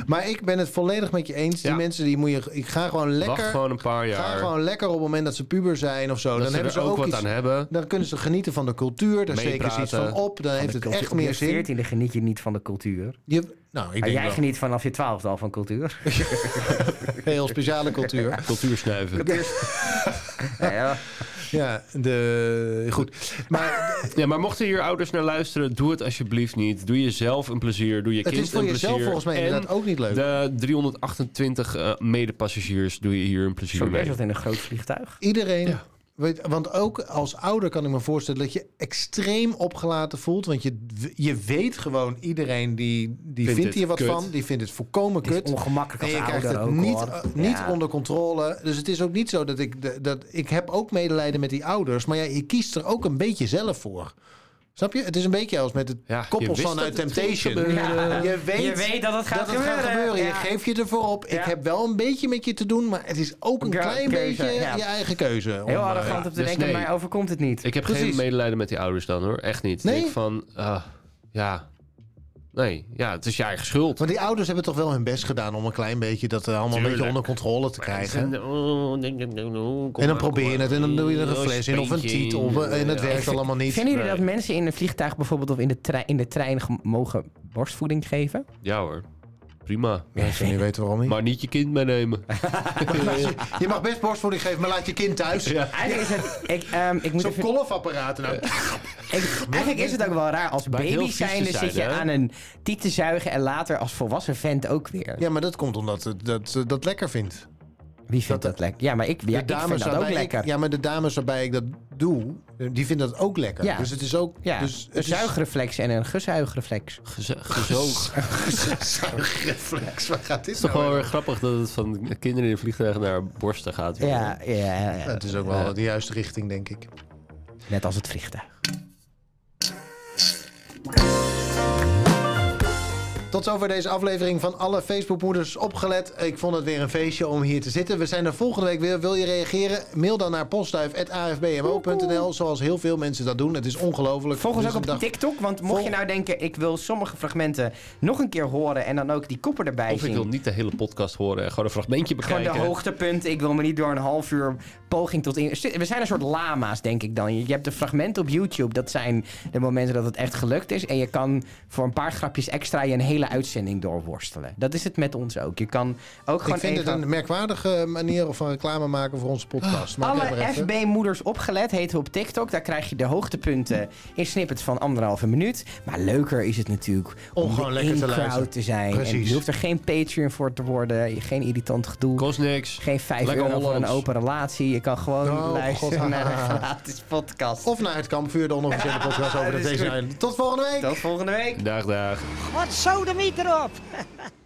Speaker 2: Maar ik ben het volledig met je eens. Die
Speaker 1: Ja.
Speaker 2: mensen, die moet je... Ik ga gewoon
Speaker 1: Wacht
Speaker 2: lekker...
Speaker 1: gewoon een paar
Speaker 2: Ga
Speaker 1: jaar.
Speaker 2: gewoon lekker op het moment dat ze puber zijn of zo.
Speaker 1: dat
Speaker 2: dan
Speaker 1: ze
Speaker 2: hebben
Speaker 1: er
Speaker 2: ze
Speaker 1: ook,
Speaker 2: ook,
Speaker 1: wat
Speaker 2: iets,
Speaker 1: aan hebben.
Speaker 2: Dan kunnen ze genieten van de cultuur. Daar zeker ze iets
Speaker 1: Meepraten.
Speaker 2: van op. Dan heeft het echt meer
Speaker 3: Op
Speaker 2: zin.
Speaker 3: je 14e geniet je niet van de cultuur.
Speaker 2: Je, nou, ik
Speaker 3: Maar
Speaker 2: denk
Speaker 3: jij
Speaker 2: wel.
Speaker 3: geniet vanaf je 12e al van cultuur.
Speaker 2: Heel speciale cultuur.
Speaker 1: Cultuur snuiven.
Speaker 3: Ja, ja.
Speaker 2: Ja, de, goed. Maar
Speaker 1: Ja, maar mochten hier ouders naar luisteren, doe het alsjeblieft niet. Doe jezelf een plezier, doe je
Speaker 2: het
Speaker 1: kind
Speaker 2: is voor
Speaker 1: een
Speaker 2: jezelf
Speaker 1: plezier.
Speaker 2: volgens mij
Speaker 1: en
Speaker 2: inderdaad ook niet leuk.
Speaker 1: de 328 eh, medepassagiers doe je hier een plezier
Speaker 3: Zo
Speaker 1: mee.
Speaker 3: best wel in een groot vliegtuig.
Speaker 2: Iedereen...
Speaker 1: Ja.
Speaker 2: Weet, want ook als ouder kan ik me voorstellen dat je extreem opgelaten voelt. Want je, je weet gewoon, iedereen die, die vindt,
Speaker 1: dit
Speaker 2: hier wat
Speaker 1: kut.
Speaker 2: van. Die vindt het volkomen
Speaker 3: Het
Speaker 2: kut.
Speaker 3: is ongemakkelijk
Speaker 2: En
Speaker 3: als
Speaker 2: je krijgt
Speaker 3: ouder
Speaker 2: het
Speaker 3: ook,
Speaker 2: niet,
Speaker 3: hoor.
Speaker 2: eh, niet
Speaker 3: Ja.
Speaker 2: onder controle. Dus het is ook niet zo dat ik... de- Dat, ik heb ook medelijden met die ouders. Maar ja, je kiest er ook een beetje zelf voor. Snap je? Het is een beetje als met het
Speaker 1: Ja, je
Speaker 2: koppel
Speaker 1: wist
Speaker 2: van
Speaker 1: dat
Speaker 2: uit
Speaker 1: het
Speaker 2: Temptation.
Speaker 1: ging
Speaker 3: gebeuren.
Speaker 2: Je, weet
Speaker 3: Je weet dat het gaat
Speaker 2: dat het gaat
Speaker 3: gebeuren.
Speaker 2: gebeuren. Je
Speaker 3: Ja.
Speaker 2: geeft je ervoor op. Ik
Speaker 3: Ja.
Speaker 2: heb wel een beetje met je te doen. Maar het is ook een
Speaker 3: Ja,
Speaker 2: klein
Speaker 3: keuze,
Speaker 2: beetje
Speaker 3: ja.
Speaker 2: je eigen keuze. om,
Speaker 3: Heel
Speaker 2: eh,
Speaker 3: arrogant om te
Speaker 1: dus
Speaker 3: denken,
Speaker 1: nee.
Speaker 3: mij overkomt het niet.
Speaker 1: Ik heb geen
Speaker 2: Precies.
Speaker 1: medelijden met die ouders dan hoor. Echt niet.
Speaker 2: Nee?
Speaker 1: Ik denk van, ah, ja. Nee, ja, het is je eigen schuld.
Speaker 2: Want die ouders hebben toch wel hun best gedaan om een klein beetje dat eh, allemaal een beetje
Speaker 1: Tuurlijk.
Speaker 2: onder controle te krijgen.
Speaker 1: En
Speaker 2: En dan probeer je het en dan doe je er een fles in of een tiet op eh, en het werkt allemaal niet.
Speaker 3: Vinden jullie
Speaker 1: Nee.
Speaker 3: dat mensen in een vliegtuig bijvoorbeeld of in de, trein in de trein ge- mogen borstvoeding geven?
Speaker 1: Ja hoor, prima.
Speaker 2: Ja, ik zou niet weten waarom niet.
Speaker 1: Maar niet je kind meenemen.
Speaker 2: Je mag best borstvoeding geven, maar laat je kind thuis.
Speaker 3: Eigenlijk is het, ik, ehm, ik moet
Speaker 2: Zo'n
Speaker 3: even-
Speaker 2: kolfapparaat. Nou.
Speaker 3: ik- eigenlijk is het ook wel raar. Als
Speaker 1: heel
Speaker 3: baby
Speaker 1: vies te
Speaker 3: zijnde
Speaker 1: zijn,
Speaker 3: zit je
Speaker 1: hè?
Speaker 3: aan een tiet te zuigen en later als volwassen vent ook weer.
Speaker 2: Ja, maar dat komt omdat ze dat, ze dat lekker vindt.
Speaker 3: Wie vindt dat, lekker? Ja, maar ik, ja, ik vind dat ook
Speaker 2: waarbij
Speaker 3: lekker.
Speaker 2: Ik, ja, maar de dames waarbij ik dat doe, eh, die vinden dat ook lekker.
Speaker 3: Ja.
Speaker 2: Dus het is ook...
Speaker 3: Ja,
Speaker 2: Dus
Speaker 3: een
Speaker 2: het
Speaker 3: zuigreflex en een gezuigreflex.
Speaker 1: Geze- Gezoog. Het
Speaker 2: is zuigreflex. Waar gaat dit
Speaker 1: is toch
Speaker 2: nou
Speaker 1: wel weer
Speaker 2: heen?
Speaker 1: grappig dat het van kinderen in vliegtuigen naar borsten gaat.
Speaker 3: Ja, ja, ja,
Speaker 2: Ja,
Speaker 3: ja.
Speaker 2: het is ook wel de juiste richting, denk ik.
Speaker 3: net als het vliegtuig.
Speaker 2: Tot zover deze aflevering van alle Facebookmoeders opgelet. Ik vond het weer een feestje om hier te zitten. We zijn er volgende week weer. Wil je reageren? Mail dan naar postduif.afbmo.nl zoals heel veel mensen dat doen. Het is ongelooflijk.
Speaker 3: Volg ons
Speaker 2: Dus
Speaker 3: ook op
Speaker 2: een dag-
Speaker 3: TikTok, want mocht
Speaker 2: Vol-
Speaker 3: je nou denken... ik wil sommige fragmenten nog een keer horen en dan ook die koppen erbij
Speaker 1: Of
Speaker 3: zien.
Speaker 1: ik wil niet de hele podcast horen en gewoon een fragmentje
Speaker 3: Gewoon
Speaker 1: bekijken.
Speaker 3: de hoogtepunten. Ik wil me niet door een half uur poging tot... In... We zijn een soort lama's, denk ik dan. Je je hebt de fragmenten op YouTube. Dat zijn de momenten dat het echt gelukt is. En je kan voor een paar grapjes extra je een hele uitzending doorworstelen. Dat is het met ons ook. Je kan ook gewoon
Speaker 2: Ik vind het
Speaker 3: één
Speaker 2: een merkwaardige manier van reclame maken voor onze podcast. Maar ik heb er
Speaker 3: Alle
Speaker 2: even-
Speaker 3: FB-moeders opgelet heten we op TikTok. Daar krijg je de hoogtepunten in snippets van anderhalve minuut. Maar leuker is het natuurlijk om,
Speaker 2: Om gewoon
Speaker 3: de
Speaker 2: lekker te
Speaker 3: in-crowd
Speaker 2: luisteren.
Speaker 3: te zijn. En
Speaker 2: Precies.
Speaker 3: je hoeft er geen Patreon voor te worden. Geen irritant gedoe.
Speaker 1: Kost niks.
Speaker 3: geen 5
Speaker 1: Lekker
Speaker 3: euro voor een
Speaker 1: Hollands.
Speaker 3: open relatie. Je kan gewoon
Speaker 2: Oh,
Speaker 3: luisteren
Speaker 2: God.
Speaker 3: naar een gratis podcast.
Speaker 2: Of naar het kampvuur, de onofficiële podcast over
Speaker 3: Dat
Speaker 2: de
Speaker 3: is
Speaker 2: deze.
Speaker 3: goed.
Speaker 2: eiland. Tot volgende week!
Speaker 3: Tot volgende week.
Speaker 1: Dag, dag.
Speaker 5: Wat zou de meter op?